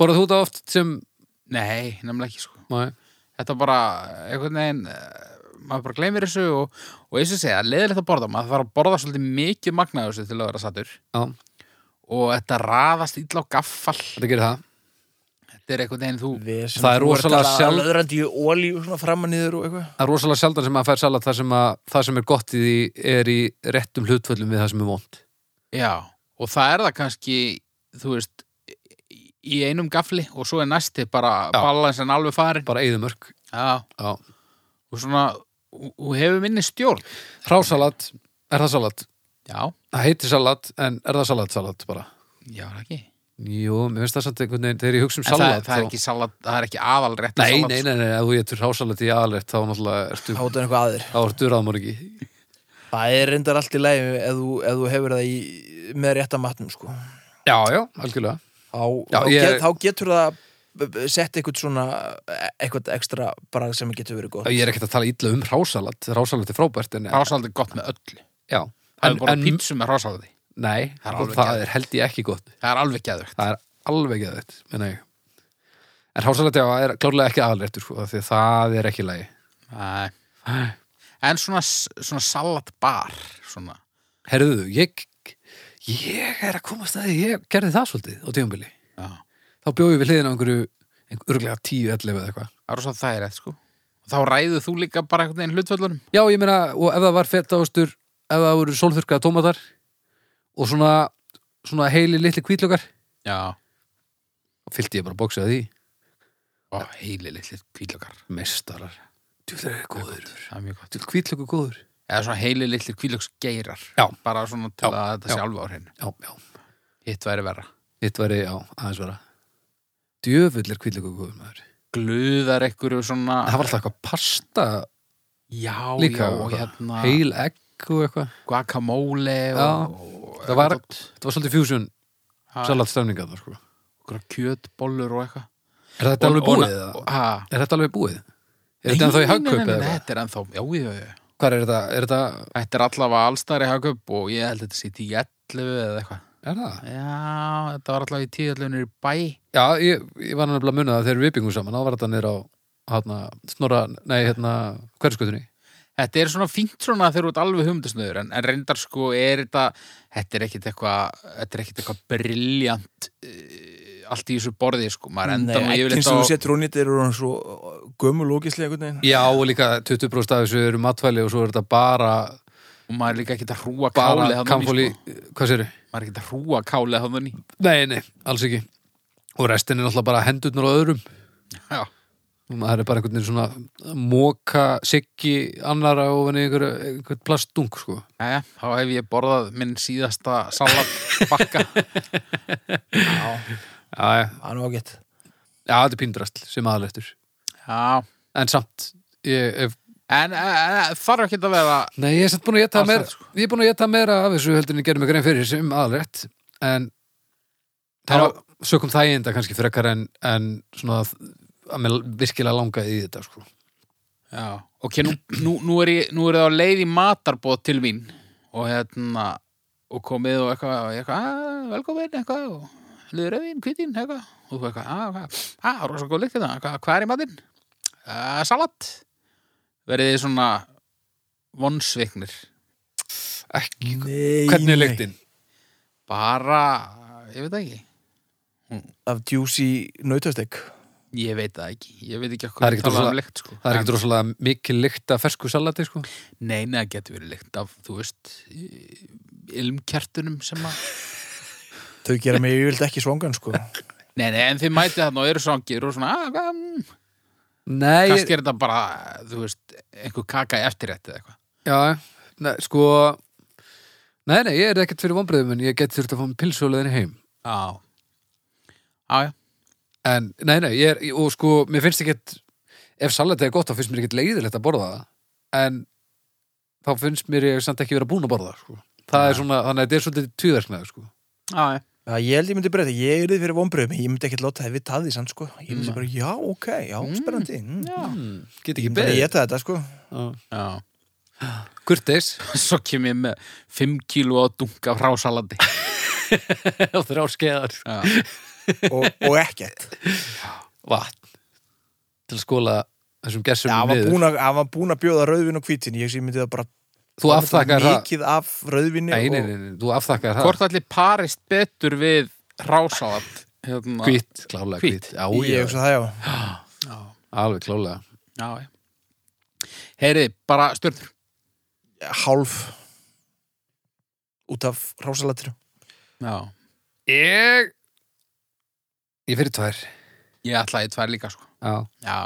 Speaker 2: Borðað þú það oft sem
Speaker 3: Nei, nefnilega ekki sko.
Speaker 2: Nei.
Speaker 3: Þetta bara, einhvern veginn, eh, maður bara gleymir þessu og, og eins og ég segja, leiðilegt að borða, maður þarf að borða svolítið mikið magnaðu þessu til að vera sattur
Speaker 2: Já,
Speaker 3: og þetta raðast illa á gaffal.
Speaker 2: þetta gerir það
Speaker 3: Þetta er einhvern veginn þú,
Speaker 1: Vesen,
Speaker 2: Það er
Speaker 1: þú ert
Speaker 2: rosalega
Speaker 1: að
Speaker 2: sjálf-
Speaker 1: Löðrandi í ólíu svona framan yfir og eitthvað
Speaker 2: Það er rosalega sjaldan sem maður fær salat það sem, að, það sem er gott í því er í réttum hlutföllum við það sem er vond
Speaker 3: já, og það er það kannski, þú veist, í- í einum gafli og svo er næsti bara
Speaker 2: Já.
Speaker 3: balansin alveg farin.
Speaker 2: Bara eigðumörk
Speaker 3: Já,
Speaker 2: Já.
Speaker 3: og svona, og hefur minni stjórn.
Speaker 2: Hrásalat, er það salat?
Speaker 3: Já,
Speaker 2: Það heitir salat, en er það salat salat bara?
Speaker 3: já, er það ekki.
Speaker 2: Jú, mér finnst það samt einhvern veginn þegar ég hugsa um
Speaker 3: En það,
Speaker 2: salat
Speaker 3: það
Speaker 2: þá-
Speaker 3: er ekki salat, það er ekki aðalrétt
Speaker 2: Nei, nei, nei, nei, ef þú getur hrásalat í aðalert þá náttúrulega ertu,
Speaker 1: Hátaðu eitthvað aður
Speaker 2: þá ertu ráðmörgi
Speaker 1: Það er reyndar allt í lægi ef, þú- ef þú hefur það í, með rétta matnum sko.
Speaker 2: Já, já, algjörlega
Speaker 1: þá,
Speaker 2: Já,
Speaker 1: þá,
Speaker 2: ég-
Speaker 1: get, þá getur það b- b- sett eitthvað svona e- eitthvað ekstra bragð sem getur verið gott
Speaker 2: Ég er ekkert að tala illa um hrásalat, hrásalat er frábært en,
Speaker 3: Rásaldi er gott með öllu.
Speaker 2: já, en,
Speaker 3: Það er bara
Speaker 2: en
Speaker 3: pítsu með rásaldi.
Speaker 2: nei,
Speaker 3: Það er alveg
Speaker 2: það
Speaker 3: geðveikt.
Speaker 2: er held ég ekki gott
Speaker 3: Það er alveg geðvögt.
Speaker 2: Það er alveg eða þetta, menna ég en hásalatjá er klárlega ekki aðalréttur sko, af því að það er ekki í lagi
Speaker 3: Nei. En svona, s- svona salatbar svona.
Speaker 2: herðu, ég ég er að komast að því, ég gerði það svolítið á tíumbili,
Speaker 3: Já.
Speaker 2: þá bjóðu við hliðin á einhverju, einhverju örglega 10-11 eða eitthvað
Speaker 3: Það er svo það er sko. Og þá ræður þú líka bara einhvern veginn hlutföllunum.
Speaker 2: Já, ég meina, og ef það var fetaostur ef það voru sólþurkaða tómatar og svona, svona heili litli kvítlökar,
Speaker 3: Já.
Speaker 2: þá fyllti ég bara bóksið að því
Speaker 3: Og heili litli kvílökar.
Speaker 2: Meistarar, djúlega er góður
Speaker 3: Það er mjög gott.
Speaker 2: Djúlega kvítlöku góður
Speaker 3: Eða svona heili litli kvílöksgeirar.
Speaker 2: Já.
Speaker 3: Bara svona til
Speaker 2: Já,
Speaker 3: að þetta sé
Speaker 2: já.
Speaker 3: alveg á hreinu.
Speaker 2: Já, já,
Speaker 3: Hitt væri verra.
Speaker 2: þitt væri, já, aðeins vera Djöfull er kvítlöku góður maður
Speaker 3: Gluðar einhverju svona.
Speaker 2: Það var alltaf eitthvað pasta
Speaker 3: Já,
Speaker 2: líka
Speaker 3: já, og
Speaker 2: eitthvað.
Speaker 3: hérna.
Speaker 2: Heil egg og eitthvað
Speaker 3: Guacamole
Speaker 2: Já.
Speaker 3: og. og
Speaker 2: Það var-
Speaker 3: eitthvað dót.
Speaker 2: Þetta var svolítið fusion Ah.
Speaker 3: Ha,
Speaker 2: salatstöfninga þar, sko
Speaker 3: einhverjar Kjötbollur og eitthvað.
Speaker 2: Er þetta alveg
Speaker 3: Og- og-
Speaker 2: búið? eða?
Speaker 3: og- ha.
Speaker 2: Er þetta alveg búið? Er þetta ennþá í
Speaker 3: Nei, nei, nei,
Speaker 2: hagkaup?
Speaker 3: nei,
Speaker 2: eða
Speaker 3: nei,
Speaker 2: hvað?
Speaker 3: Þetta er ennþá, já, já, já.
Speaker 2: Hvar er þetta? Er þetta,
Speaker 3: Þetta er allavega allstæri hagkaup og ég held að þetta sýtti í 11 eða eitthvað.
Speaker 2: er það?
Speaker 3: Já, þetta var allavega í 10 11 niður í bæ.
Speaker 2: Já, ég, ég var nefnilega að muna það þegar við byggum saman, þá var þetta niður á hérna, snorra, nei, hérna hverskutunni.
Speaker 3: Þetta er svona fínt svona þegar þú ert alveg humdasnöður en, en reyndar sko er þetta, þetta er ekkit eitthvað, þetta er ekkit eitthvað briljant uh, allt í þessu borði sko. Maður
Speaker 1: Nei,
Speaker 3: endar nú
Speaker 1: ekki
Speaker 3: yfirleitt
Speaker 1: eins og þú
Speaker 3: á...
Speaker 1: setur hún í þetta eru hann svo gömul og ógislega einhvern veginn.
Speaker 2: Já, og líka 20% af þessu eru matvæli og svo er þetta bara,
Speaker 3: Og maður er líka ekkit að hrúa
Speaker 2: bara
Speaker 3: kálið hann
Speaker 2: kamfóli,
Speaker 3: í sko.
Speaker 2: hvað séru?
Speaker 3: Maður er ekkit að hrúa kálið hann í.
Speaker 2: Nei, nei, alls ekki. Og restin er náttúrulega bara hendurnar á öðrum.
Speaker 3: Já.
Speaker 2: Og Það er bara einhvern veginn svona móka, siggi, annara og einhver, einhver plastdunk, sko.
Speaker 3: Jæja, þá hef ég borðað minn síðasta salatbakka.
Speaker 1: Já,
Speaker 2: Já, já,
Speaker 1: það er nú ágætt.
Speaker 2: já þetta er píndrasl sem aðalegtur.
Speaker 3: Já,
Speaker 2: En samt, ég hef
Speaker 3: en, en, en þarf ekki að vera
Speaker 2: Nei, ég er samt búin að geta
Speaker 3: Alls
Speaker 2: meira
Speaker 3: ekki,
Speaker 2: Ég er búin að geta meira af þessu heldur en ég gerði mig grein fyrir sem aðalrétt en það
Speaker 3: Já.
Speaker 2: var sökum þæginda kannski frekar en, en svona að að mér virkilega langaði í þetta sko.
Speaker 3: Já, ok, nú, nú, nú, er ég, nú er það á leið í matarbóð til mín og hérna og komið og eitthvað og ég eitthvað, "Ah, velkomin eitthvað og liðröðin, kvítin, eitthvað og þú eitthvað, að, hvað, að, rosa góð lykt þetta hvað, hvað er í matinn? Uh, salat verið þið svona vonsviknir
Speaker 2: Ekki,
Speaker 1: Nei,
Speaker 2: hvernig er
Speaker 1: nei.
Speaker 2: lyktin?
Speaker 3: bara, ég veit það ekki
Speaker 1: Af juicy nautastek.
Speaker 3: ég veit það ekki, ég veit ekki
Speaker 2: Það er
Speaker 3: okkur
Speaker 2: ekkit rosalega-
Speaker 3: um lykt sko.
Speaker 2: Það er ekkert rosalega mikil lykt af fersku salati sko.
Speaker 3: Nei, neða getur verið lykt af, þú veist ilmkjartunum sem að
Speaker 1: Þau gera mig yfirvilt ekki svangan, sko.
Speaker 3: Nei, nei, en þið mætið þarna og eru svangir og svona, að, hvað, mm,
Speaker 2: Nei, ég-
Speaker 3: kannski er þetta bara, þú veist, einhver kaka í eftirrétti eða eitthvað.
Speaker 2: já, nei, sko Nei, nei, ég er ekkert fyrir vonbröðum en ég geti þurft að fá mig pilsu á leiðinni heim
Speaker 3: Já. Já, já.
Speaker 2: En, nei, nei, ég er, og sko, mér finnst ekkert, ef salatið er gott, þá finnst mér ekkert leiðilegt að borða það, en þá finnst mér ég samt ekki vera búin að borða það, sko. Það er svona, þannig að þetta er svolítið tvíðarsnaður, sko.
Speaker 3: Já, já.
Speaker 1: Já, ég held ég myndi breyta. Ég er þið fyrir vonbröðum. Ég myndi ekkert láta það við taði, sann, sko. Ég myndi bara, já, ok, já, spennandi. Mm.
Speaker 2: Mm, get ekki
Speaker 1: Ég myndi að
Speaker 2: beðið.
Speaker 1: geta þetta, sko.
Speaker 3: Já.
Speaker 2: Kurteis,
Speaker 3: Svo kem ég með 5 kíló að dunga af hrásalandi.
Speaker 2: þrjár skeiðar,
Speaker 3: Já.
Speaker 1: Og, og ekkert.
Speaker 2: vatn, til að skóla þessum
Speaker 1: Já,
Speaker 2: gersum
Speaker 1: hann var
Speaker 2: niður.
Speaker 1: búinn að- hann var búin að bjóða rauðvin og hvítin. Ég sé myndi það bara
Speaker 2: Þú afþakkar það,
Speaker 1: mikið af rauðvinni
Speaker 2: nei, nei,
Speaker 1: og-
Speaker 2: nei, nei, þú afþakkar það.
Speaker 3: Hvort allir parist betur við hrásalat? Hérna.
Speaker 2: Hvít, klálega
Speaker 3: Hvít.
Speaker 2: hvít. Já,
Speaker 1: Ég
Speaker 2: já,
Speaker 1: hugsa það, já.
Speaker 3: Já,
Speaker 2: alveg klálega.
Speaker 3: já, já. Heyri, bara stjörnur.
Speaker 1: Hálf út af rásalatinu.
Speaker 3: Já.
Speaker 2: Ég, ég fyrir tvær,
Speaker 3: Ég ætlaði tvær líka, sko.
Speaker 2: já.
Speaker 3: Já.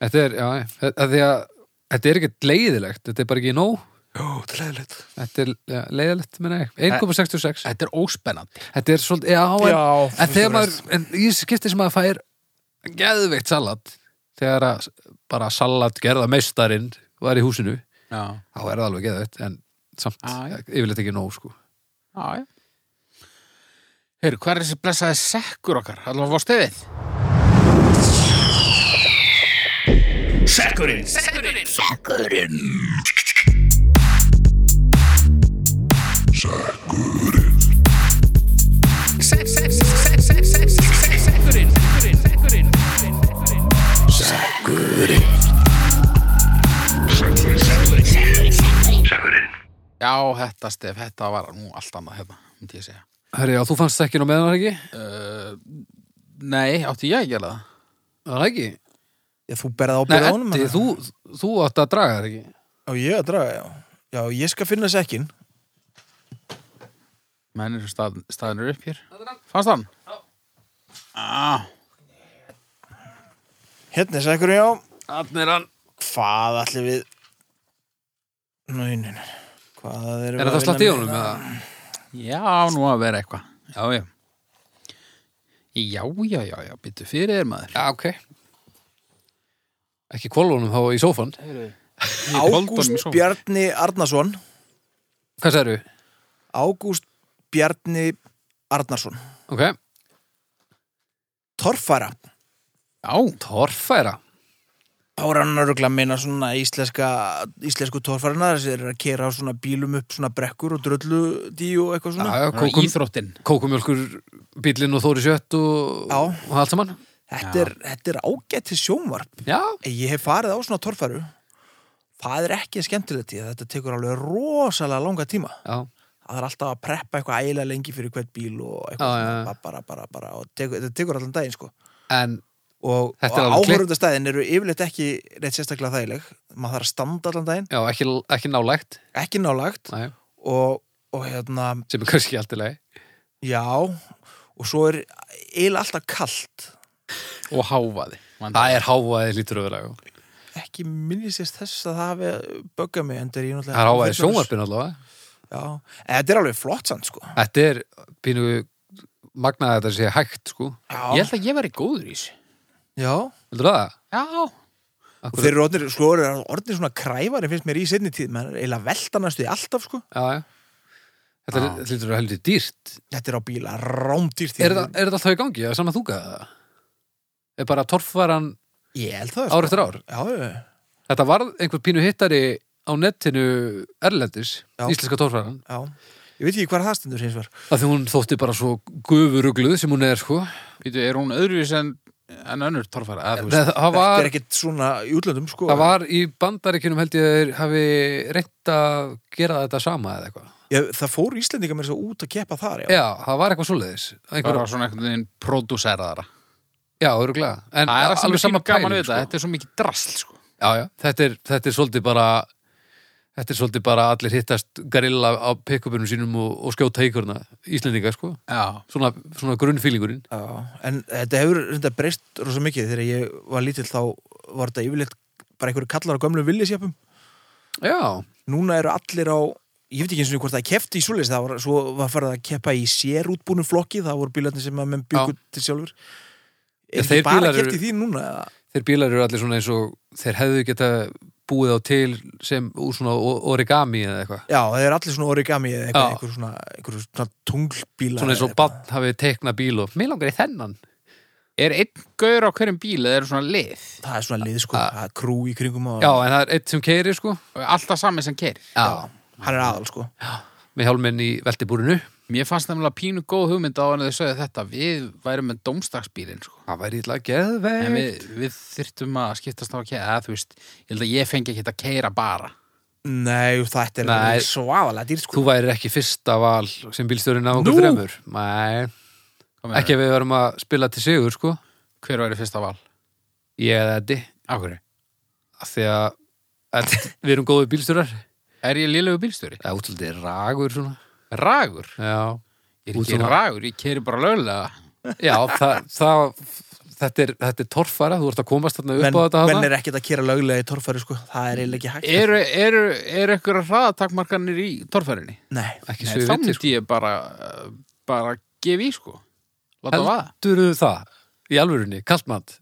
Speaker 2: Þetta er, já, já, að því að þetta er ekkert leiðilegt, þetta er bara ekki nóg
Speaker 1: Jó, það er leðilegt.
Speaker 2: þetta er já, leiðilegt, menna ég 1,66,
Speaker 3: Þetta er óspennandi.
Speaker 2: þetta er svolítið, já, en,
Speaker 1: Já,
Speaker 2: en þegar maður, en í þessu skipti sem maður fær geðveikt salat þegar að bara salat gerða meistarinn var í húsinu
Speaker 3: Já.
Speaker 2: þá er það alveg geðveikt, en samt
Speaker 3: Já, já.
Speaker 2: yfirleitt ekki nóg, sko
Speaker 3: Já, já. Heyru, hvað er þessi blessaði sekkur okkar? Allavega var stöðið. Sekkurinn! Sekkurinn! Sekkurinn! Sekkurinn! já, þetta stef, þetta var nú allt annað hérna, myndi ég segja.
Speaker 2: Herri, já, þú fannst þekkinn á meðan var það ekki?
Speaker 3: Uh, nei, átti ég að gera það?
Speaker 2: Var það ekki?
Speaker 1: Já, þú berð
Speaker 2: Nei,
Speaker 1: ábyrð á honum
Speaker 2: Eddi,
Speaker 1: eða?
Speaker 2: þú, þú átt að draga það ekki?
Speaker 1: Já, ég að draga, já. Já, ég skal finna sekkin.
Speaker 3: Menn eru stað, staðinur upp hér. Fannst hann? Já. Ah,
Speaker 1: Hérna er sekkurinn, já.
Speaker 2: Þannig er hann.
Speaker 1: Hvað ætlum við... Nænin. Hvað erum við
Speaker 2: Er það
Speaker 1: að
Speaker 2: slant í
Speaker 1: vinna
Speaker 2: honum?
Speaker 1: með?
Speaker 2: eða?
Speaker 3: já, nú að vera eitthvað. Já, já. Já, já, já, já, byttu fyrir þér maður.
Speaker 2: Já, ok. Ekki kvolva honum þá í sófan.
Speaker 3: Koldanum í
Speaker 1: Ágúst
Speaker 3: sófann.
Speaker 1: Bjarni Arnason.
Speaker 2: Hvað sérðu?
Speaker 1: Ágúst Bjarni Arnason.
Speaker 2: Ok.
Speaker 1: Torfara.
Speaker 3: Já,
Speaker 2: Torfæra.
Speaker 1: Þá er hann örgulega að meina svona íslenska, íslensku torfarina þess að þeir eru að kera á svona bílum upp svona brekkur og dröllu og eitthvað
Speaker 2: Já,
Speaker 1: svona.
Speaker 2: já,
Speaker 3: það var
Speaker 2: kókum,
Speaker 3: íþróttin.
Speaker 2: kókumjölkur bílinn og Þóri Sjött og,
Speaker 1: Já.
Speaker 2: og allt saman.
Speaker 1: Þetta er, þetta er ágætti sjónvarp.
Speaker 2: Já.
Speaker 1: Ég hef farið á svona torfaru. Það er ekki skemmtilegt í það. Þetta tekur alveg rosalega langa tíma.
Speaker 2: Já.
Speaker 1: Það er alltaf að preppa eitthvað ægilega lengi fyrir hvert bíl og eitthvað
Speaker 2: Já, já,
Speaker 1: svona, bara, bara, bara. Og tekur, þetta tekur allan daginn, sko.
Speaker 2: En
Speaker 1: Og,
Speaker 2: Þetta er
Speaker 1: og
Speaker 2: alveg klikt.
Speaker 1: áhörundastæðin eru yfirleitt ekki neitt sérstaklega þægileg. Maður þarf að standa allan daginn.
Speaker 2: já, ekki, ekki nálægt.
Speaker 1: Ekki nálagt.
Speaker 2: Nei,
Speaker 1: Og, og hérna,
Speaker 2: sem er kannski allt í lagi.
Speaker 1: Já, og svo er eiginlega alltaf kalt.
Speaker 3: Og háfaði. Það
Speaker 2: Það er hávaði lítur öðrulega.
Speaker 1: Ekki minnisist þess að það hafi böggað mig, en það er ég náttúrulega...
Speaker 2: Það er hávaði sjónvarpin allavega.
Speaker 1: Já, en þetta er alveg flott samt, sko.
Speaker 2: Þetta er pínu magnaði að þetta sé hægt, sko.
Speaker 3: Ég
Speaker 1: Já,
Speaker 3: held að ég væri góður í þessu.
Speaker 1: já.
Speaker 2: Vildur það?
Speaker 3: Já.
Speaker 1: Og
Speaker 2: Akkur,
Speaker 1: þeir eru orðnir, sko, eru orðnir svona kræfari, finnst mér í seinni tíð, menn eiginlega veltanastu í alltaf, sko.
Speaker 2: já, já. Þetta
Speaker 3: Já.
Speaker 2: er- lítur að heldur dýrt.
Speaker 1: Þetta er á bíla rámdýr því.
Speaker 2: Er, það, er þetta alltaf í gangi? Er saman þúkaði það? Er bara torfvaran
Speaker 1: Ég held það, sko.
Speaker 2: ár eftir ár?
Speaker 1: Já, já, já.
Speaker 2: Þetta varð einhver pínu hittari á netinu Erlendis,
Speaker 1: Já.
Speaker 2: íslenska torfvaran.
Speaker 1: já. Ég veit ekki hvað það stendur hins var.
Speaker 2: Af því hún þótti bara svo gufurugluð sem hún er, sko.
Speaker 3: Býtu, er hún öðruvis en, en önnur torfara? Eða, þú veist, sko,
Speaker 2: Það, það,
Speaker 1: Þetta er
Speaker 2: var,
Speaker 1: ekkert svona í útlöndum, sko.
Speaker 2: það var í bandaríkjunum held ég að þeir hafi reynt að gera þetta sama eða eitthvað.
Speaker 1: Ég, það fór Íslendinga mér svo út að keppa þar, já.
Speaker 2: Já, það var eitthvað svoleiðis.
Speaker 3: það
Speaker 2: Einhver,
Speaker 3: var svona einhvern veginn pródúseraðara.
Speaker 2: já, öruglega. En
Speaker 3: Það er alveg saman gaman við
Speaker 2: pæling, sko.
Speaker 3: þetta, þetta er svo mikið drasl, sko.
Speaker 2: Já, já, þetta er, þetta er svolítið bara þetta er svolítið bara allir hittast garilla á pick-upunum sínum og, og skjóta íkurna Íslendinga, sko
Speaker 3: Já.
Speaker 2: svona, svona grunnfílingurinn
Speaker 1: Já, en þetta hefur reynda breyst rosa mikið þegar ég var lítill þá var þetta yfirleitt bara einhverju kallar á gömlum villisjöpum.
Speaker 2: Já,
Speaker 1: Núna eru allir á, ég veit ekki eins og hvort það kefti í svoleiðis, það var, svo var farið að keppa í sérútbúnum flokki, það voru bílarnir sem að menn byggu til sjálfur.
Speaker 2: Já,
Speaker 1: Er
Speaker 2: þeir
Speaker 1: ekki bara
Speaker 2: bílar
Speaker 1: keppt
Speaker 2: eru-
Speaker 1: í því núna? eða?
Speaker 2: þeir bílar eru allir svona eins og þeir hefðu geta búið á til sem úr svona o- origami eða eitthvað
Speaker 1: Já, þeir eru allir svona origami eða eitthvað,
Speaker 2: Já.
Speaker 1: einhver svona, einhver svona tunglbílar.
Speaker 2: svona eins og
Speaker 1: eða eitthvað.
Speaker 2: bann hafið teikna bíl og mér langar í þennan
Speaker 3: Er einn gaur á hverjum bíl eða er svona lið?
Speaker 1: Það er svona lið sko, það er krú í kringum og
Speaker 2: Já, en það er eitt sem keiri, sko
Speaker 3: Og Alltaf sami sem kerir.
Speaker 2: Já,
Speaker 1: hann er aðal sko.
Speaker 2: með hjálminn í veltibúrinu
Speaker 3: Mér fannst nefnilega pínu góð hugmynd á hann þau sögðu þetta. Við værum með dómstagsbílinn, sko.
Speaker 2: Það væri illa
Speaker 3: En
Speaker 2: geðveikt
Speaker 3: við, við þyrftum að skiptast á að keira, eða þú veist, ég held að ég fengi ekki að keira bara.
Speaker 1: Nei, þetta
Speaker 2: Nei.
Speaker 1: er svafalega dýrt sko.
Speaker 2: Þú værir ekki fyrsta val sem bílstjórinn af
Speaker 1: Nú?
Speaker 2: okkur þremur Nei
Speaker 3: Hvað
Speaker 2: Ekki
Speaker 3: meinarðu?
Speaker 2: ef við verum að spila til sigur, sko
Speaker 3: Hver væri fyrsta val?
Speaker 2: Ég eða Eddi
Speaker 3: Á hverju?
Speaker 2: af Því að Eddi, við erum góðu bílstjórar
Speaker 3: Er ég lélegu bílstjóri?
Speaker 2: Það er útaldið ragur svona
Speaker 3: Ragur?
Speaker 2: Já,
Speaker 3: Ég er
Speaker 2: Út
Speaker 3: ekki
Speaker 2: svona-
Speaker 3: ragur, ég keiri bara lögulega.
Speaker 2: Já það, það, þetta, er, þetta er torfara Þú ert að komast þarna upp
Speaker 1: Menn,
Speaker 2: á þetta
Speaker 1: menn
Speaker 2: hana
Speaker 1: er ekkert að kera löglega í torfæri sko, það er eiginlega ekki hægt. sko.
Speaker 3: Eru, eru, eru ekkur hraðatakmarkanir í torfærinni?
Speaker 1: Nei,
Speaker 2: Ekki
Speaker 3: Nei,
Speaker 2: svo
Speaker 3: þá
Speaker 2: við viti, sko
Speaker 3: myndi ég bara, uh, bara gefa í, sko. Láta vaða.
Speaker 2: Heldurðu það? Í alvörunni, kalt mat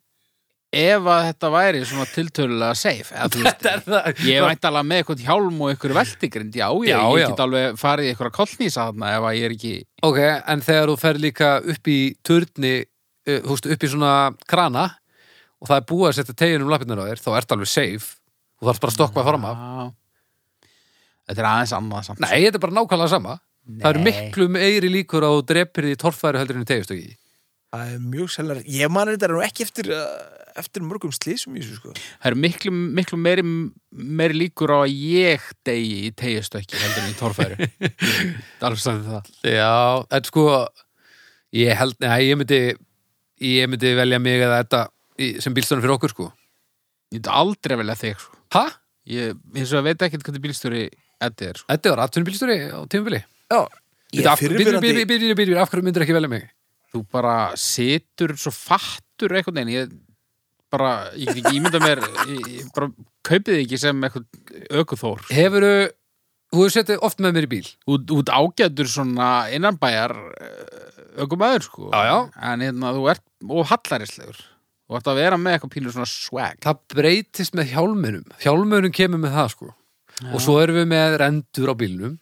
Speaker 3: Ef að þetta væri svona tiltölulega safe, eða þú veist, ég vænt alveg með eitthvað hjálm og eitthvað veltigrind, já, já,
Speaker 2: Já, já.
Speaker 3: ég get alveg farið í eitthvað kollnýsa þarna ef að ég er ekki,
Speaker 2: Ok, en þegar þú fer líka upp í turni, uh, þú veist, upp í svona krana og það er búið að setja tegin um lappirnar á þér, þá ertu alveg safe þú þarfst bara að stokka fram af
Speaker 3: já, þetta er aðeins annað samt.
Speaker 2: Nei, þetta er bara nákvæmlega sama Það eru
Speaker 3: Nei.
Speaker 2: miklu meiri líkur á drepir því torfæri heldur en í tegjastöki
Speaker 1: það er mjög sellar. Ég man þetta nú ekki eftir uh, eftir mörgum slísum í þessu sko.
Speaker 3: Það eru miklu, miklu meiri, meiri líkur á að ég degi í tegjastökki heldur en í torfæru. Það er alveg sagði það.
Speaker 2: Já, en sko ég held, nei, ég myndi ég myndi velja mig eða þetta í- sem bílstörnum fyrir okkur, sko
Speaker 3: Ég myndi aldrei velja þig, sko.
Speaker 2: Ha?
Speaker 3: Ég, eins og ég veit ekkert hvernig bílstjóri þetta er, sko.
Speaker 2: Þetta var aftunum bílstörni á tímubili
Speaker 1: Já, ég er
Speaker 2: Byrjum,
Speaker 1: fyrirverandi
Speaker 2: byrjum, byrjum, byrjum, af hverju myndir ekki velja mig?
Speaker 3: Þú bara situr svo fattur einhvern veginn. Ég bara, ég get ekki ímynda mér, ég, ég bara kaupið þig ekki sem eitthvað ökuþór.
Speaker 2: Hefurðu, þú hefur setið oft með mér í bíl
Speaker 3: Út, út ágætur svona innanbæjar ökumæður, sko.
Speaker 2: Já, já.
Speaker 3: En hérna, þú ert, og hallarislegur. Þú ert að vera með eitthvað pínu svona swag.
Speaker 2: Það breytist með hjálminum Hjálminum kemur með það, sko Og svo erum við með rendur á bílnum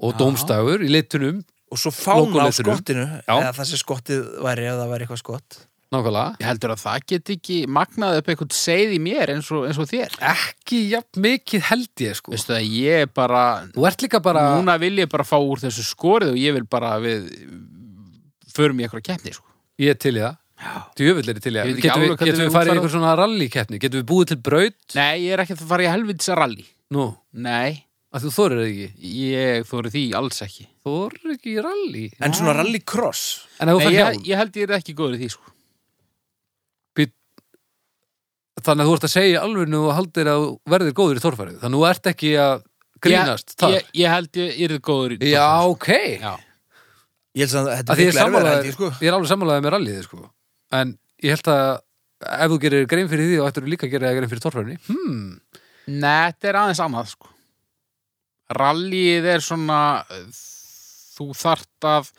Speaker 2: og
Speaker 3: Já.
Speaker 2: dómstafur í litunum,
Speaker 1: og svo fána á
Speaker 2: Logoletrinum.
Speaker 1: skottinu
Speaker 2: Já.
Speaker 1: eða það sem skottið væri eða það væri eitthvað skott
Speaker 2: nákvæmlega
Speaker 3: Ég heldur að það get ekki magnað upp eitthvað segið í mér eins og, eins og þér.
Speaker 2: Ekki jafn mikið held ég, sko
Speaker 3: Veistu að ég er bara,
Speaker 2: Þú ert líka bara
Speaker 3: núna vil ég bara fá úr þessu skorið og ég vil bara að við förum í eitthvað keppni, sko.
Speaker 2: Ég er til í það Djöfull er ég til í það
Speaker 3: Ég veit ekki
Speaker 2: Getum við,
Speaker 3: alveg hvernig
Speaker 2: getum við
Speaker 3: við
Speaker 2: farið í
Speaker 3: útfærum.
Speaker 2: einhver svona rallykeppni Getum við búið til braut
Speaker 3: Nei, ég er ekki að fara í helvitsa rally.
Speaker 2: Nú,
Speaker 3: Nei,
Speaker 2: að þú þorir það ekki
Speaker 3: ég þóri því alls ekki.
Speaker 2: Þorir ekki í rally
Speaker 1: en svona rallycross
Speaker 2: En ef þú
Speaker 3: Nei,
Speaker 2: fær
Speaker 3: ég,
Speaker 2: hjálm
Speaker 3: ég held ég er ekki góður í því, sko.
Speaker 2: Þannig að þú ert að segja alveg nú og haldir að þú verðir góður í torfærið Þannig að þú ert ekki að grínast
Speaker 3: Ég,
Speaker 2: þar
Speaker 3: ég, ég held ég er góður í
Speaker 2: Já, ok
Speaker 3: Já.
Speaker 1: ég held samt að þetta
Speaker 2: Að
Speaker 1: er
Speaker 2: því ég er,
Speaker 1: miklu erfiðar held
Speaker 2: sammálaður-
Speaker 1: ég sko
Speaker 2: ég er alveg sammálaðið með rallyið sko. En ég held að ef þú gerir grein fyrir því og ættir líka að gera grein fyrir torfærinni hmm,
Speaker 3: Nei, þetta er aðeins annað sko. Rallið er svona uh, þú þart að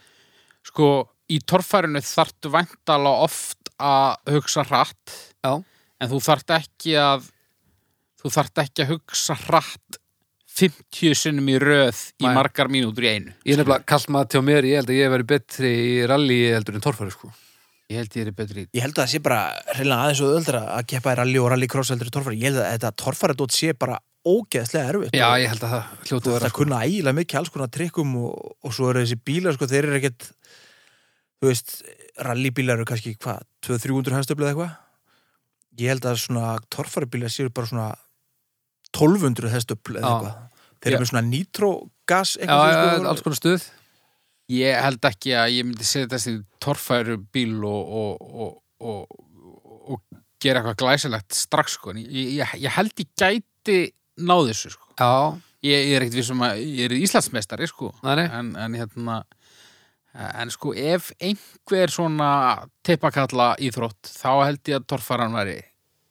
Speaker 3: sko, í torfærinu þartu væntala oft að hugsa hratt
Speaker 2: Já,
Speaker 3: en þú þart ekki að þú þart ekki að hugsa hratt 50 sinnum í röð í
Speaker 2: Nei.
Speaker 3: margar mínútur í einu
Speaker 2: ég er nefnilega kallt maður til á mér Ég held að ég veri betri í rallyið heldur en torfæri sko.
Speaker 3: Ég held ég er betri
Speaker 1: ég held að það sé bara reyna aðeins og öðuldra að keppa í rally og rallycross heldur í torfari ég held að þetta torfaradót sé bara ógeðslega erfitt
Speaker 2: Já,
Speaker 1: og
Speaker 2: ég held að það hljótu að
Speaker 1: það
Speaker 2: vera
Speaker 1: er
Speaker 2: sko.
Speaker 1: kunna ægilega mikið alls konar trikkum og, og svo eru þessi bílar sko þeir eru ekkert þú veist rallybílar eru kannski hvað 200-300 hænstöfla eða eitthvað ég held að svona torfaribílar séu bara svona 1200 hænstöfla eða
Speaker 2: Já.
Speaker 1: eitthvað þeir
Speaker 3: Já.
Speaker 1: eru með svona nitrogas
Speaker 2: Já,
Speaker 1: eitthvað
Speaker 2: já,
Speaker 1: svona,
Speaker 2: sko, alls konar stuð
Speaker 3: Ég held ekki að ég myndi setjast í torfæru bíl og, og, og, og, og gera eitthvað glæsilegt strax sko. En Ég, ég, ég held ég gæti náð þessu sko.
Speaker 2: Já,
Speaker 3: Ég, ég er ekkert vissum að ég er Íslandsmeistari sko.
Speaker 2: þannig
Speaker 3: En, en hérna en sko ef einhver svona teipakalla íþrótt þá held ég að torfæran væri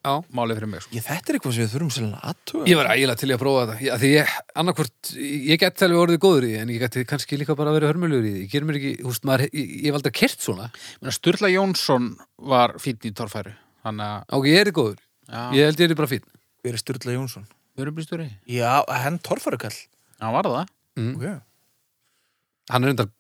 Speaker 2: Já.
Speaker 3: málið fyrir mig sko.
Speaker 1: ég, þetta er eitthvað sem við þurfum sérlega aðtöða
Speaker 2: Ég var ægilega til í að prófa þetta Já, Því ég, annarkvort, ég geti alveg orðið góður í því En ég geti kannski líka bara verið hörmulegur í því Ég ger mér ekki, húst maður, ég, ég valdi að kert svona
Speaker 3: Meina, Sturla Jónsson var fínn í torfæru þannig
Speaker 2: Ok, ég er góður,
Speaker 3: að
Speaker 2: ég held ég er bara fín
Speaker 1: við erum Sturla Jónsson
Speaker 3: vörublýstur í
Speaker 1: já, henn torfarikall
Speaker 3: hann var það
Speaker 2: mm.
Speaker 1: okay.
Speaker 2: Hann er undar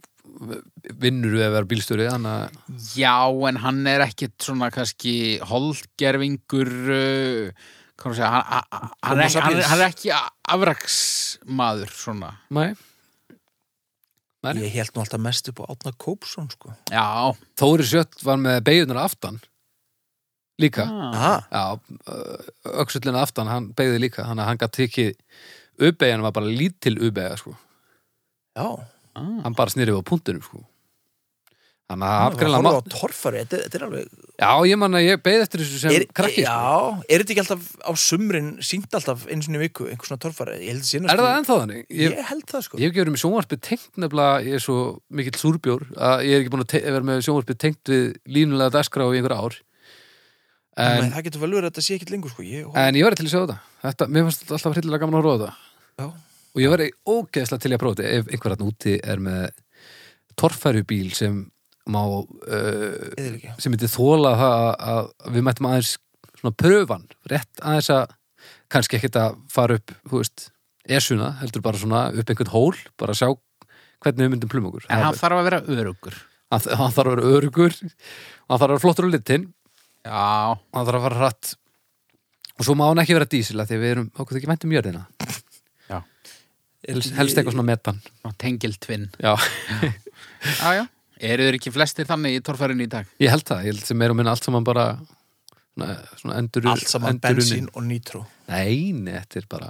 Speaker 2: vinnur við að vera bílstjóri Þannig að
Speaker 3: Já, en hann er ekkit svona kannski holdgerfingur uh, hvað má segja, hann, hann, hann,
Speaker 1: Homo
Speaker 3: er ekki, hann, er-
Speaker 1: sapiens.
Speaker 3: hann er ekki afraksmaður svona.
Speaker 2: Nei. Nei.
Speaker 1: ég held nú alltaf mest upp á Átna Kópsson sko.
Speaker 3: Já.
Speaker 2: Þóri Sjött var með beigjurnar aftan líka
Speaker 1: Aha,
Speaker 2: Já, öksullina aftan, hann beigði líka þannig að hann gæti ekki uppeyjan var bara lítil uppeyja sko.
Speaker 1: já,
Speaker 3: Ah.
Speaker 2: hann bara snýrið á puntinum sko. þannig að
Speaker 1: Maður var að
Speaker 2: afgræðlega
Speaker 1: horfa
Speaker 2: má...
Speaker 1: á torfari þetta, þetta er alveg
Speaker 2: Já, ég manna, ég beigði eftir þessu sem
Speaker 1: er,
Speaker 2: krakki sko.
Speaker 1: Já, er þetta ekki alltaf á sumrin sínt alltaf eins og viku, einhvers svona torfari ég held, sínast,
Speaker 2: Er það ennþá þannig?
Speaker 1: sko. Ég,
Speaker 2: Ég,
Speaker 1: held það sko
Speaker 2: ég hef ekki verið með sjónvarpið tengt nefnilega, ég er svo mikill súrbjór að ég er ekki búin að te- vera með sjónvarpið tengt við línulega dagskrá í einhver ár
Speaker 1: en,
Speaker 2: en,
Speaker 1: Það getur vel verið að þetta sé ekkit lengur sko ég,
Speaker 2: en ég var til að sjá þetta, þetta mér fannst þetta alltaf hryllilega gaman að horfa á þetta
Speaker 1: já,
Speaker 2: og ég var ógeðslega til í að prófa þetta ef einhverjarn úti er með torfærubíl sem má uh,
Speaker 1: eða ekki
Speaker 2: sem myndi þóla það að að við mættum aðeins svona pröfan rétt aðeins að kannski ekkert að fara upp þú veist, esuna, heldur bara svona upp einhvern hól, bara að sjá hvernig við myndum plum okkur
Speaker 3: En hann
Speaker 2: hann,
Speaker 3: þarf að vera örugur.
Speaker 2: hann, hann þarf að vera örugur hann þarf að vera flottur á litin
Speaker 3: Já.
Speaker 2: hann þarf að fara hratt og svo má hann ekki vera dísila því að við erum okkur ekki mæntum jörðina helst, helst eitthvað svona metan
Speaker 3: Tengil tvinn.
Speaker 2: já
Speaker 3: Já, já. Eru þeir ekki flestir þannig í torfærinu í dag?
Speaker 2: Ég held það, ég held sem er og minna allt saman bara svona, svona endur
Speaker 1: allt saman bensín og nýtró
Speaker 2: Nei, nei, þetta er bara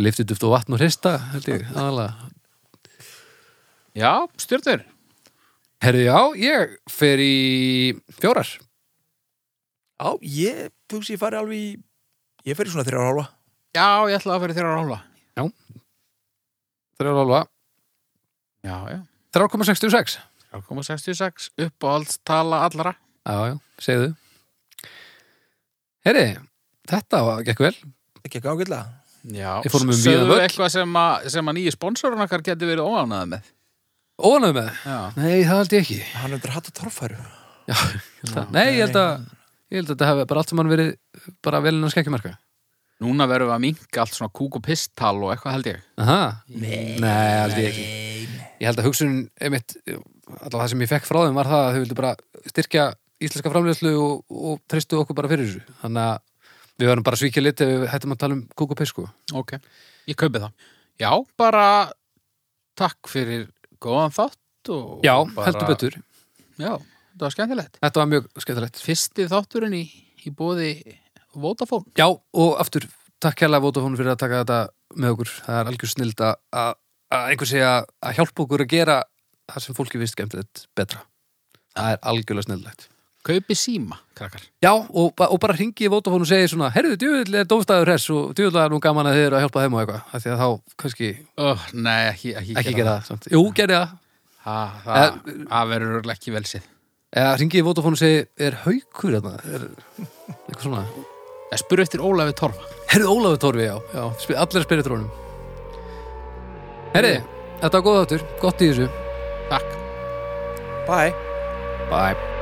Speaker 2: liftið duft og vatn og hrista held ég, aðalega
Speaker 3: Já, stjörnur
Speaker 2: Herðu, já, ég fer í fjórar
Speaker 1: Já, ég hugsi ég fari alveg í ég fer í svona þrjá hálfa
Speaker 3: Já, ég ætla að fyrir þér að rála
Speaker 2: Þrjár álfa,
Speaker 3: Já, já
Speaker 2: 3,66
Speaker 3: 3,66 uppáhaldstala allra
Speaker 2: Já, já, segðu Herri, þetta var- gekk vel
Speaker 1: ekki ekki ágætlega
Speaker 3: Já,
Speaker 2: Við fórum um
Speaker 3: sögðu
Speaker 2: víðan völl.
Speaker 3: eitthvað sem að, sem að nýju sponsorun okkar geti verið óanað með
Speaker 2: Óanægð með það?
Speaker 3: Já,
Speaker 2: Nei, það held ég ekki
Speaker 1: hann er undir hatt og torfæru
Speaker 2: Já, Nei, ég held að ég held að þetta hefði bara allt saman verið bara velin að skekkjumarka
Speaker 3: núna verðum við að minka allt svona kúk og pisttal og eitthvað held ég
Speaker 2: Aha. Nei, Nei, held ég ekki Ég held að hugsunin, einmitt allavega það sem ég fekk frá þeim var það að þau vildu bara styrkja íslenska framleiðslu og, og treystu okkur bara fyrir þessu þannig að við verðum bara svíkja lit ef við hættum að tala um kúk og pisku
Speaker 3: Ok, ég kaupi það Já, bara takk fyrir góðan þátt og
Speaker 2: Já,
Speaker 3: bara,
Speaker 2: heldur betur
Speaker 3: Já, þetta var skemmtilegt
Speaker 2: Þetta var mjög skemmtilegt
Speaker 3: Fyrsti þátturinn í, í bóði Vodafone
Speaker 2: Já, og aftur, takk hérlega Votafónu fyrir að taka þetta með okkur það er algjör snild að, að að einhver segja að hjálpa okkur að gera það sem fólki vist skemmtilegt betra Það er algjörlega snildlegt
Speaker 3: Kaupi síma, krakkar
Speaker 2: Já, og, ba- og bara ringi í Vótafón og segi svona Herðu, djúvill er dófstæður hress og djúvill er nú gaman að þið eru að hjálpa þeim og eitthvað af Því að þá kannski
Speaker 3: oh, Nei, ekki, ekki,
Speaker 2: ekki gera það samt. Jú, gerði það Eh,
Speaker 3: Ha, Það það verður örugglega ekki vel séð
Speaker 2: Eða ringi í Vótafón og segi, er haukur þarna? Er eitthvað svona
Speaker 3: Ég spurði eftir Ólafi Torfa
Speaker 2: Herðu, Ólafur Torfi, já, já sp- Allir spyrir trónum Herri, þetta var góð þáttur, gott í þessu
Speaker 3: Takk
Speaker 1: bye
Speaker 2: Bye